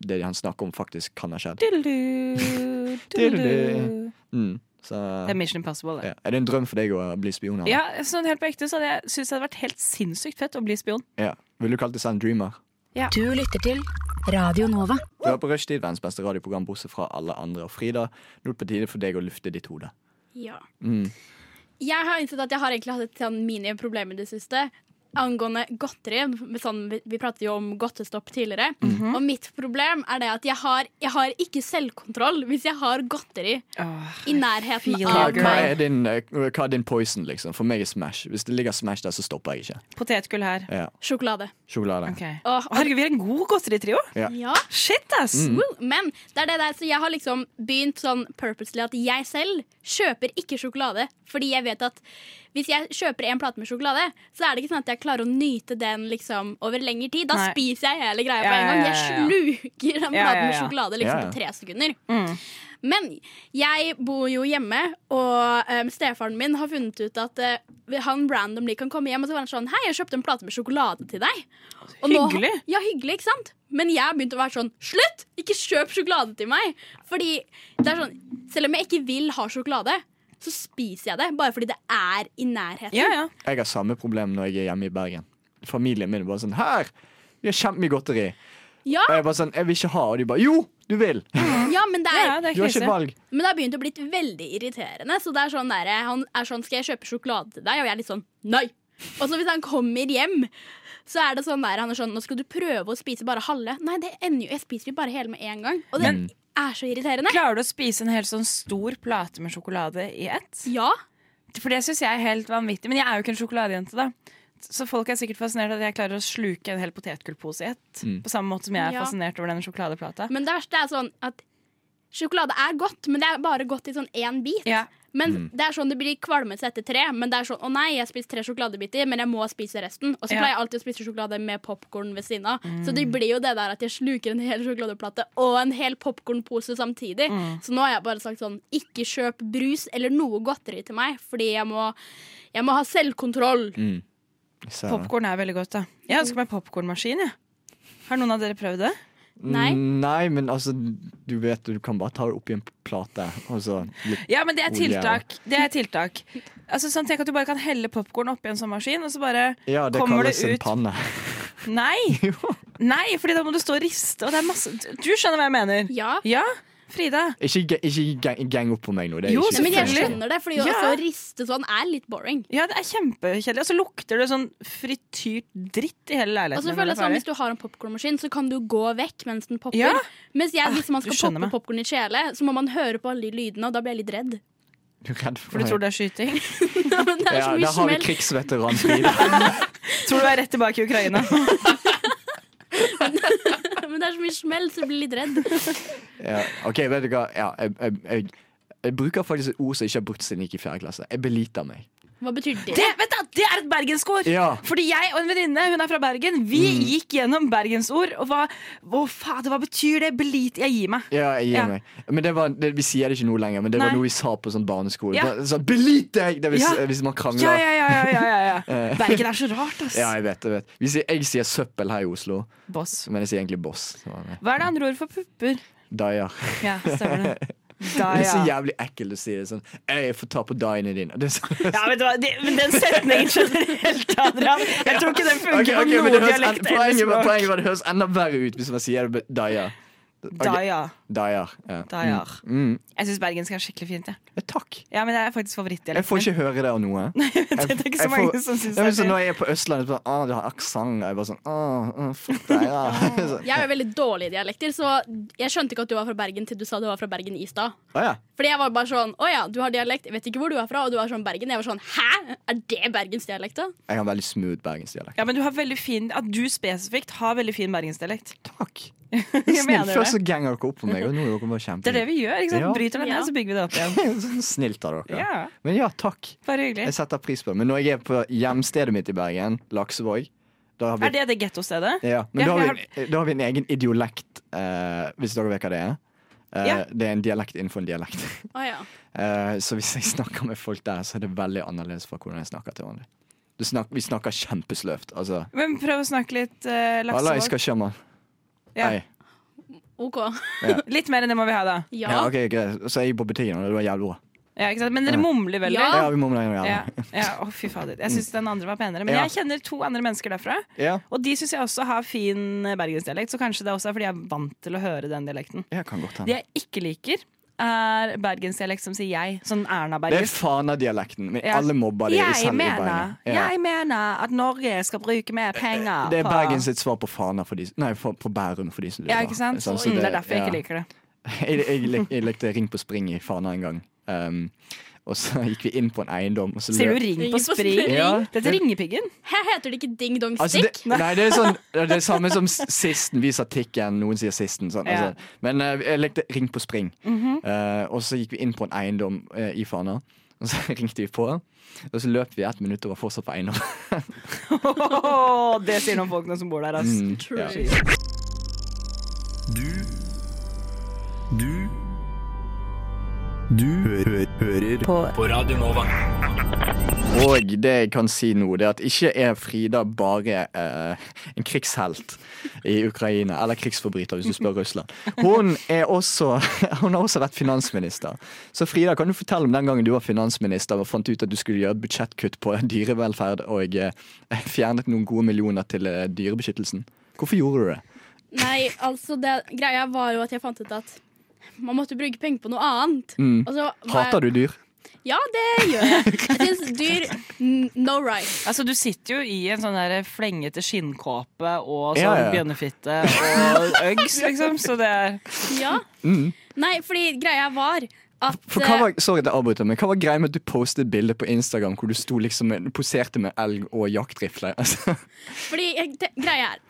det han snakker om, faktisk kan ha skjedd.
Diddelu, diddelu.
Diddelu. Mm, så
Det er Mission Impossible, det.
ja. Er det en drøm for deg å bli spion? Hanne?
Ja, sånn helt på ekte så hadde jeg syntes det hadde vært helt sinnssykt fett å bli spion.
Ja. Vil du kalle deg selv en dreamer?
Du lytter til Radio Nova.
Du er på Rushtid, verdens beste radioprogram, bortsett fra alle andre. Og Frida, nå er det på tide for deg å lufte ditt hode.
Ja.
Mm.
Jeg har innsett at jeg har egentlig hatt et sånn miniproblem i det siste. Angående godteri. med Sånn, vi, vi pratet jo om godtestopp tidligere.
Mm. Mhm.
Og mitt problem er det at jeg har, jeg har ikke selvkontroll hvis jeg har godteri i nærheten
feel
Hva,
av
you, girl.
hva,
meg.
er din, eh, hva er din poison, liksom? For meg er Smash. Hvis det ligger Smash der, så stopper jeg ikke.
Potetgull her.
Ja.
Sjokolade.
Sjokolade.
Ok.
Åh,
Å, Herregud, vi er en god godteritrio.
Ja.
Shit, ass!
Mm.
Woo. Men det er det der, så jeg har liksom begynt sånn purposely at jeg selv kjøper ikke sjokolade. Fordi jeg vet at hvis jeg kjøper en plate med sjokolade, så er det ikke sånn at jeg klarer å nyte den liksom over lengre tid. Da
Nei.
spiser jeg hele greia
Ja,
på en gang. Jeg
ja, ja, ja.
sluker den platen
Ja, ja,
med
ja. Mm.
sjokolade liksom
Ja, ja.
på tre sekunder. Men jeg bor jo hjemme, og um, stefaren min har funnet ut at eh, han randomly kan komme hjem og så var han sånn Hei, jeg kjøpte en plate med sjokolade til deg. Og nå-
Hyggelig.
ja, hyggelig, ikke sant? Men jeg har begynt å være sånn Slutt! Ikke kjøp sjokolade til meg! Fordi det er sånn Selv om jeg ikke vil ha sjokolade, så spiser jeg det bare fordi det er i nærheten.
Ja, ja.
Jeg har samme problem når jeg er hjemme i Bergen. Familien min er bare sånn Her! Vi har kjempemye godteri.
Ja,
Og jeg bare sånn Jeg vil ikke ha. Og de bare Jo! Du vil!
ja, men det er
Ja, det er
Du har ikke
krise.
et valg.
Men det har begynt å bli veldig irriterende. Så det er sånn der, Han er sånn 'Skal jeg kjøpe sjokolade til deg?' Og jeg er litt sånn 'Nei'. Og så hvis han kommer hjem, så er det sånn der Han er sånn 'Nå skal du prøve å spise bare halve'. Nei, det ender jo Jeg spiser jo bare hele med en gang. Og det er så irriterende.
Klarer du å spise en helt sånn stor plate med sjokolade i ett?
Ja.
For det syns jeg er helt vanvittig. Men jeg er jo ikke en sjokoladejente, da. Så folk er sikkert fascinert at jeg klarer å sluke en hel potetgullpose i ett.
Mm.
På samme måte som jeg er
Ja.
fascinert over den sjokoladeplata.
Men det verste er sånn at sjokolade er godt, men det er bare godt i sånn én bit.
Ja.
Men det er sånn det blir kvalmete etter tre. Men det er sånn, å nei, jeg spiser tre sjokoladebiter, men jeg må spise resten. Og så
Ja. Mm.
pleier jeg alltid å spise sjokolade med popkorn ved siden av. Så det blir jo det der at jeg sluker en hel sjokoladeplate og en hel popkornpose samtidig.
Mm.
Så nå har jeg bare sagt sånn, ikke kjøp brus eller noe godteri til meg, fordi jeg må, jeg må ha selvkontroll.
Så-
Popkorn er veldig godt, da. Jeg ønsker meg popkornmaskin, jeg. Har noen av dere prøvd det?
Nei.
Nei, men altså Du vet du kan bare ta det oppi en plate, og så litt
Ja, men det er
Olje, Oh, ja.
tiltak. Det er tiltak. Altså, sånn, tenk at du bare kan helle popkorn oppi en sånn maskin, og så bare
Ja, det
kommer det
kalles en
ut
panne.
Nei! Nei, fordi da må du stå og riste, og det er masse Du skjønner hva jeg mener?
Ja.
Ja, Frida.
Ikke, ge- ikke gang, gang opp på meg nå. Det er
Jo,
ikke
Nei, men jeg
funny.
skjønner det, fordi
Ja.
også å riste sånn er litt boring.
Ja, det er kjempekjedelig. Og så lukter det sånn frityrt dritt i hele
Og
leiligheten.
så
min
føler
når
jeg sånn, Hvis
det
du har en popkornmaskin, så kan du gå vekk mens den popper.
Ja.
Mens jeg, hvis man
du
Ah,
skal
skjønner
poppe popkorn i kjele, så må man høre på alle de lydene, og da blir jeg litt redd.
Du
er ferdig.
er redd for
For du
meg.
tror det er skyting?
Men det er
ja,
så mye
Der har vi
smell.
krigsveteranfri.
Tror du er rett tilbake i Ukraina?
Men det er så mye smell, så du blir litt redd.
Ja, ok, vet du hva? Ja, jeg, jeg, jeg, jeg bruker faktisk et ord som jeg ikke har brukt siden jeg gikk i fjerde klasse. Jeg beliter meg.
Hva betyr det?
Det, vet du, det er et bergensord!
Ja. Mm.
Fordi jeg og en venninne hun er fra Bergen, vi gikk gjennom bergensord. Og hva, å, fader, hva betyr det? Belit, jeg gir meg.
Ja, jeg gir
Ja.
meg. Men det var, det, Vi sier det ikke nå lenger, men det
Nei.
var noe vi sa på sånn barneskole.
Ja.
Sånn, sånn, Belit deg! Det er hvis,
Ja.
hvis man krangler.
Ja, ja, ja, ja, ja, ja, ja. Bergen er så rart, ass.
Eh. Ja, jeg vet, jeg vet. Vi sier, jeg sier søppel her i Oslo,
Boss.
men jeg sier egentlig boss. som er med.
Hva er det andre ord for pupper?
Daier.
Ja, stemmer det. Da,
Det er så
ja.
jævlig ekkelt å si det sånn. Jeg får ta på daiene dine. Det er så,
Ja, vet du hva, det, men Den setningen generelt, Adrian. Jeg tror ikke den funker
Ok, ok, men
på
det
noe
høres,
dialekt eller
poenget, var,
språk.
poenget var det høres enda verre ut hvis man sier det med daier. Ok,
Da, ja.
Daier. Ja.
Da, ja.
Mm.
Jeg syns bergensk er skikkelig fint. Ja.
Ja, takk.
Ja, men Det er faktisk favorittdialekten.
Jeg får ikke høre det av noe.
min. det er
jeg
ikke så
får-
mange som syns
Ja,
det.
men
er
så
fint.
når jeg er på Østlandet, så bare, ah, du har aksent. Jeg bare sånn ah, ah, fuck deg, ja. Så-
Jeg er jo veldig dårlig i dialekter, så jeg skjønte ikke at du var fra Bergen til du sa du var fra Bergen i stad.
ah, ja.
Fordi jeg var bare sånn Å ja, du har dialekt, jeg vet ikke hvor du er fra, og du er sånn Bergen. Jeg var sånn Hæ? Er det bergensdialekt, da?
Jeg har veldig smooth bergensdialekt.
Ja, men du har veldig fin, At du spesifikt har veldig fin bergensdialekt.
Takk.
Jeg
Snill,
mener det.
først så ganger dere opp på meg, og nå er dere bare
Det er det
kjempe
vi gjør. ikke sant?
Ja.
Bryter den ned,
Ja.
så bygger vi det opp igjen.
Sånn Snilt av dere.
Ja,
Men ja, takk.
Bare
Jeg
hyggelig.
setter pris på det. Men når jeg er på hjemstedet mitt i Bergen, Laksevåg da har vi,
Er det det gettostedet?
ja, men
Ja,
da, har
jeg
vi, eh, da har vi en egen idiolekt, eh, hvis dere vet hva det er. Eh,
Ja.
Det er en dialekt innenfor en dialekt.
Å ja.
Eh, så hvis jeg snakker med folk der, så er det veldig annerledes fra hvordan jeg snakker til hverandre. Du snak, vi snakker kjempesløvt. Altså,
Men prøv å snakke litt uh,
Alla
laksevåg.
skal sjømann.
Ja.
Nei.
OK.
Litt mer enn det må vi ha, da.
Ja.
Ja, ok, greit. Så jeg gikk på butikken, og det var jævlig bra.
Ja, ikke sant? Men dere
Ja.
mumler veldig.
Ja.
Ja, vi må med deg
Ah. Ja.
igjen.
ja. Å, fy fader. Jeg syns den andre var penere. Men
Ja.
jeg kjenner to andre mennesker derfra,
Ja.
og de syns jeg også har fin eh, bergensdialekt. Så kanskje det også er fordi jeg er vant til å høre den dialekten.
ja, kan godt
Det
hende.
jeg ikke liker, er bergensdialekt som sier jeg. Sånn
Det er
Erna-bergens.
Fana-dialekten. Men
Ja.
alle mobber det
Jeg
selv i
mener,
Bergen. Ja.
jeg mener at Norge skal bruke mer penger
Det er
på-
Bergen sitt svar på Fana for de, nei, for, på Bærum for de som lurer.
Ja, ikke sant?
Sånn, så
Mm, det er derfor jeg ikke
ja.
liker det.
jeg, jeg, lik- jeg likte Ring på spring i Fana en gang. Um, og så gikk vi inn på en eiendom, og så
Sier du
løp-
ring
Ring
på
på
spring?
spring?
Ja.
Dette er ringepiggen.
Hæ, heter det ikke ding dong
Altså,
stick?
det, nei, det er sånn Det er det samme som s- sisten. Vi sa tikken, noen sier sisten. Sånn,
Ja.
altså. Men eh, jeg lekte ring på spring. Eh, og så gikk vi inn på en eiendom eh, i Fana. Og så ringte vi på, og så løp vi ett minutt og var fortsatt på eiendom.
det sier noen folkene som bor der. ass.
Mm, Ja.
Du Du Du hø hø hører på. på Radio Nova.
Og det jeg kan si nå, det er at ikke er Frida bare eh, en krigshelt i Ukraina. Eller krigsforbryter, hvis du spør Russland. Hun, er også, hun har også vært finansminister. Så Frida, kan du fortelle om den gangen du var finansminister og fant ut at du skulle gjøre et budsjettkutt på dyrevelferd og eh, fjernet noen gode millioner til eh, dyrebeskyttelsen? Hvorfor gjorde du det?
Nei, altså, det, greia var jo at jeg fant ut at man måtte bruke penger på noe annet.
Mm.
Og så var jeg-
Hater du dyr?
Ja, det gjør jeg. Jeg syns dyr n- No right.
Altså, du sitter jo i en sånn der flengete skinnkåpe og sånn
Ja, ja.
bjønnefitte og øggs, liksom. Så det er
Ja. Nei, fordi greia var at
Mm.
eh,
For hva var, sorry at jeg avbryter, men hva var greia med at du postet et bilde på Instagram hvor du sto liksom med, poserte med elg og jaktrifle? Altså.
Fordi jeg, te- greia er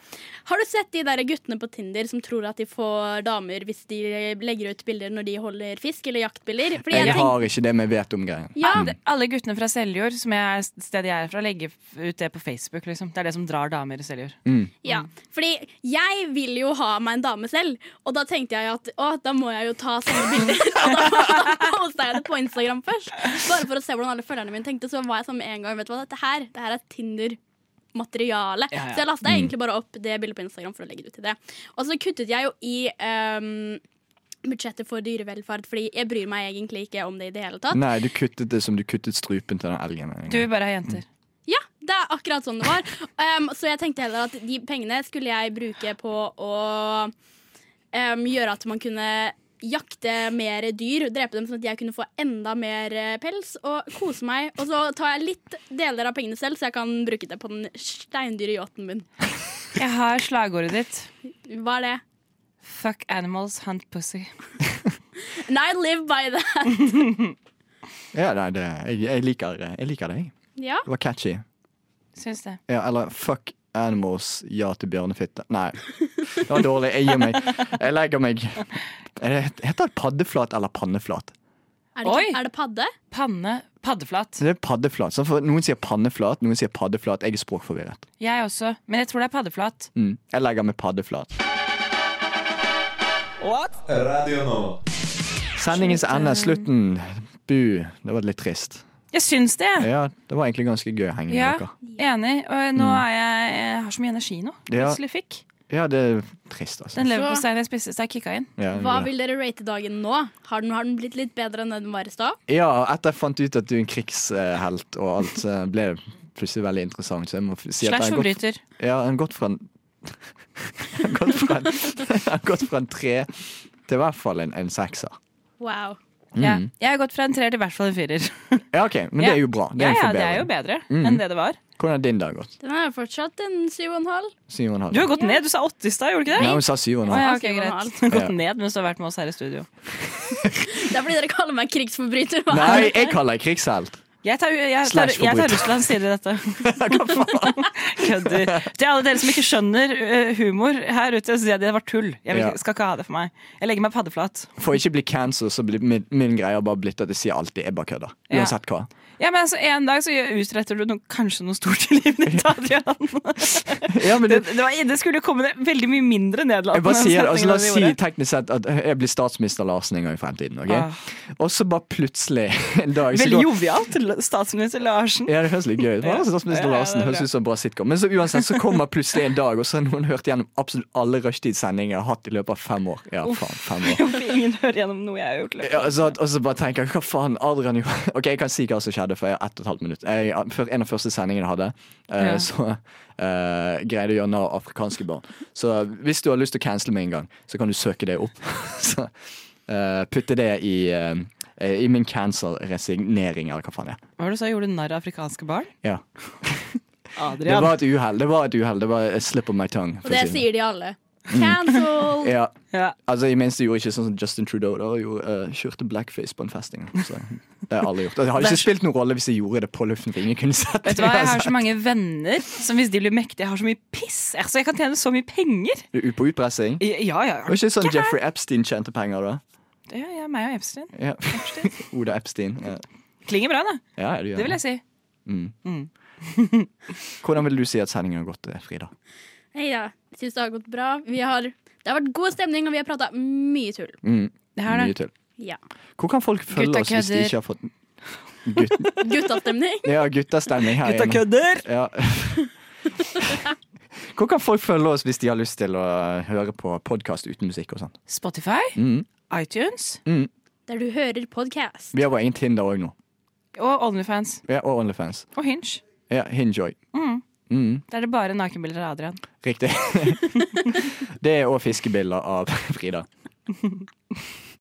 Har du sett de der guttene på Tinder som tror at de får damer hvis de legger ut bilder når de holder fisk eller jaktbilder? Fordi
Jeg,
jeg tenk-
har ikke det med vet om-greien.
ja,
Alle- Alle guttene fra Seljord, som jeg er stedet jeg er fra, legger f- ut det på Facebook. liksom Det er det som drar damer i Seljord.
Mm.
ja,
Mm.
fordi jeg vil jo ha meg en dame selv, og da tenkte jeg at å, da må jeg jo ta sånne bilder. Og da, da posta jeg det på Instagram først, bare for å se hvordan alle følgerne mine tenkte. Så var jeg sånn med en gang, vet du hva, dette her, det her er Tinder. Materiale.
Ja, Mm. ja.
Så jeg lasta egentlig bare opp det bildet på Instagram. for å legge det ut til det Og så kuttet jeg jo i ehm, budsjettet for dyrevelferd, fordi jeg bryr meg egentlig ikke om det i det hele tatt.
Nei, du kuttet det som du kuttet strupen til den elgen.
Du vil bare ha jenter.
Ja, det er akkurat sånn det var. Um, så jeg tenkte heller at de pengene skulle jeg bruke på å um, gjøre at man kunne jakte mer dyr, drepe dem sånn at jeg kunne få enda mer eh, pels og kose meg. Og så tar jeg litt deler av pengene selv, så jeg kan bruke det på den steindyre yachten min.
Jeg har slagordet ditt.
Hva er det?
Fuck animals, hunt pussy.
And I live by that.
Ja, nei, det, jeg, jeg liker jeg liker det, jeg.
Ja.
Det var catchy.
Syns det.
Ja, eller fuck animals, ja til bjørnefitte. Nei, det var dårlig. Jeg gir meg. Jeg legger meg. Er det- Heter det paddeflat eller panneflat?
Er, det,
Oi.
ikke- er det padde?
Panne. Paddeflat.
Det er paddeflat. Så for, noen sier panneflat, noen sier paddeflat. Jeg er språkforvirret.
Jeg også. Men jeg tror det er paddeflat.
Mm. Jeg legger meg paddeflat.
Radio Nova.
Sendingens ende, slutten. Bu. Det var litt trist.
Jeg syns det. jeg.
Ja, det var egentlig ganske gøy å henge med
Ja,
dere.
enig. Og nå er jeg, jeg har så mye energi nå.
Mm. Ja.
Plutselig fikk.
Ja, det er trist, altså.
Den leverposteien jeg spiste, så jeg kicka inn.
Ja, det
Hva
var det.
vil dere rate dagen nå? Har den, har den blitt litt bedre enn den var i stad?
ja, etter jeg fant ut at du er en krigshelt og alt, så ble det plutselig veldig interessant. Så jeg må si at
Slash
jeg har gått,
forbryter.
ja, jeg har gått fra en jeg har gått fra en, jeg har gått fra en tre til i hvert fall en, en sekser.
Wow.
Ja. Jeg har gått fra en treer til i hvert fall en firer.
Mm. Ja, OK, men det er jo bra. Det er
ja,
en
ja, det er jo
forbedring. Mm.
bedre enn det det var.
Hvordan har din dag gått?
Den er fortsatt en syv og en halv.
Syv og en halv?
Du har gått ned. Du sa åtte i stad, gjorde du ikke det?
Ja, hun sa syv og en
Å,
halv.
ja,
Ja,
ok,
syv og en
greit.
halv.
Du
Ja.
har gått ned mens du har vært med oss her i studio.
Det er fordi dere kaller meg krigsforbryter. Hva er
Nei,
det?
jeg kaller deg krigshelt.
Jeg tar, jeg, tar,
Slash
jeg tar
forbryter.
Russlands side i dette. Kødder. Til alle dere som ikke skjønner eh, humor her ute, så sier jeg at det var tull. Jeg vil,
Ja.
skal ikke ha det for meg. Jeg legger meg paddeflat.
For å ikke bli cancel, så blir min, min greie bare blitt at jeg sier alltid jeg bare kødder.
Ja.
Uansett hva.
Ja, men altså, En dag så gjør- utretter du noe, kanskje noe stort i livet ditt, Adrian.
Ja, men
Det,
det,
det, var, det skulle jo komme ned- veldig mye mindre
jeg
nedlatende.
bare sier,
enn
altså, La oss si
setningen vi gjorde.
teknisk sett at jeg blir statsminister Larsen en gang i fremtiden. ok?
Ah.
Og så bare plutselig en dag så
Veldig
går-
jovialt, statsminister Larsen.
ja, det høres litt gøy ut. Hva er det Statsminister
Ja, ja,
Larsen
det er
høres
bra.
ut som en bra sitcom. Men så uansett så kommer plutselig en dag, og så har noen hørt gjennom absolutt alle rushtidssendingene jeg har hatt i løpet av fem år. Ja, faen, fem år.
Hvorfor ingen hører gjennom noe jeg har gjort.
Ja, altså, at- og så bare tenker jeg, hva faen, Adrian jo Ok, jeg kan si hva som skjedde, for jeg har ett og et halvt minutt. Jeg, før en av første sendingene jeg hadde, eh,
Ja.
så eh, greide jeg å gjøre narr av afrikanske barn. Så hvis du har lyst til å cancele med en gang, så kan du søke det opp. så eh, putte det i, eh, i min cancel-resignering, eller hva faen det er.
Hva var det du sa? Gjorde du narr av afrikanske barn?
Ja. Det
Adrian.
var et uhell. Det var et uhell. Det var a slip of my tongue. for
Og det
å si
sier de alle. Cancel!
Ja,
Ja.
altså I minste gjorde jeg ikke sånn som Justin Trudeau. Da gjorde, eh, kjørte blackface på en festing. Så det har jeg aldri gjort. Og Det hadde ikke spilt noen rolle hvis jeg gjorde det på luften, for ingen kunne sett
Vet
det. altså.
du hva, Jeg har så mange venner som hvis de blir mektige, har så mye piss. Altså, Jeg kan tjene så mye penger.
Du er På utpressing.
Ja, ja. ja.
Det var ikke sånn Jeffrey Epstein tjente penger, da?
Det er jeg, meg og Epstein.
Ja. Oda Epstein. Ja,
Klinger bra, da.
ja du gjør
Det vil jeg si.
Hvordan vil du si at sendingen har gått, eh, Frida?
Hei da. Jeg Syns det har gått bra. Vi har, det har vært god stemning, og vi har prata mye tull.
Mm,
Det her,
mye
da.
til.
Ja.
Hvor kan folk følge
Gutta
oss hvis de
kødder.
ikke har fått Gutt...
Guttastemning.
Ja, guttastemning her
Gutta
hjemme.
kødder!
Ja. Hvor kan folk følge oss hvis de har lyst til å høre på podkast uten musikk og sånn?
Spotify,
Mm.
iTunes
Der du hører podkast.
Vi har vår egen Tinder òg nå.
og Onlyfans.
Ja, og OnlyFans.
Og Hinge.
Ja, Hinjoy. Mm,
Der er det bare nakenbilder av Adrian.
riktig. det er òg fiskebilder av Frida.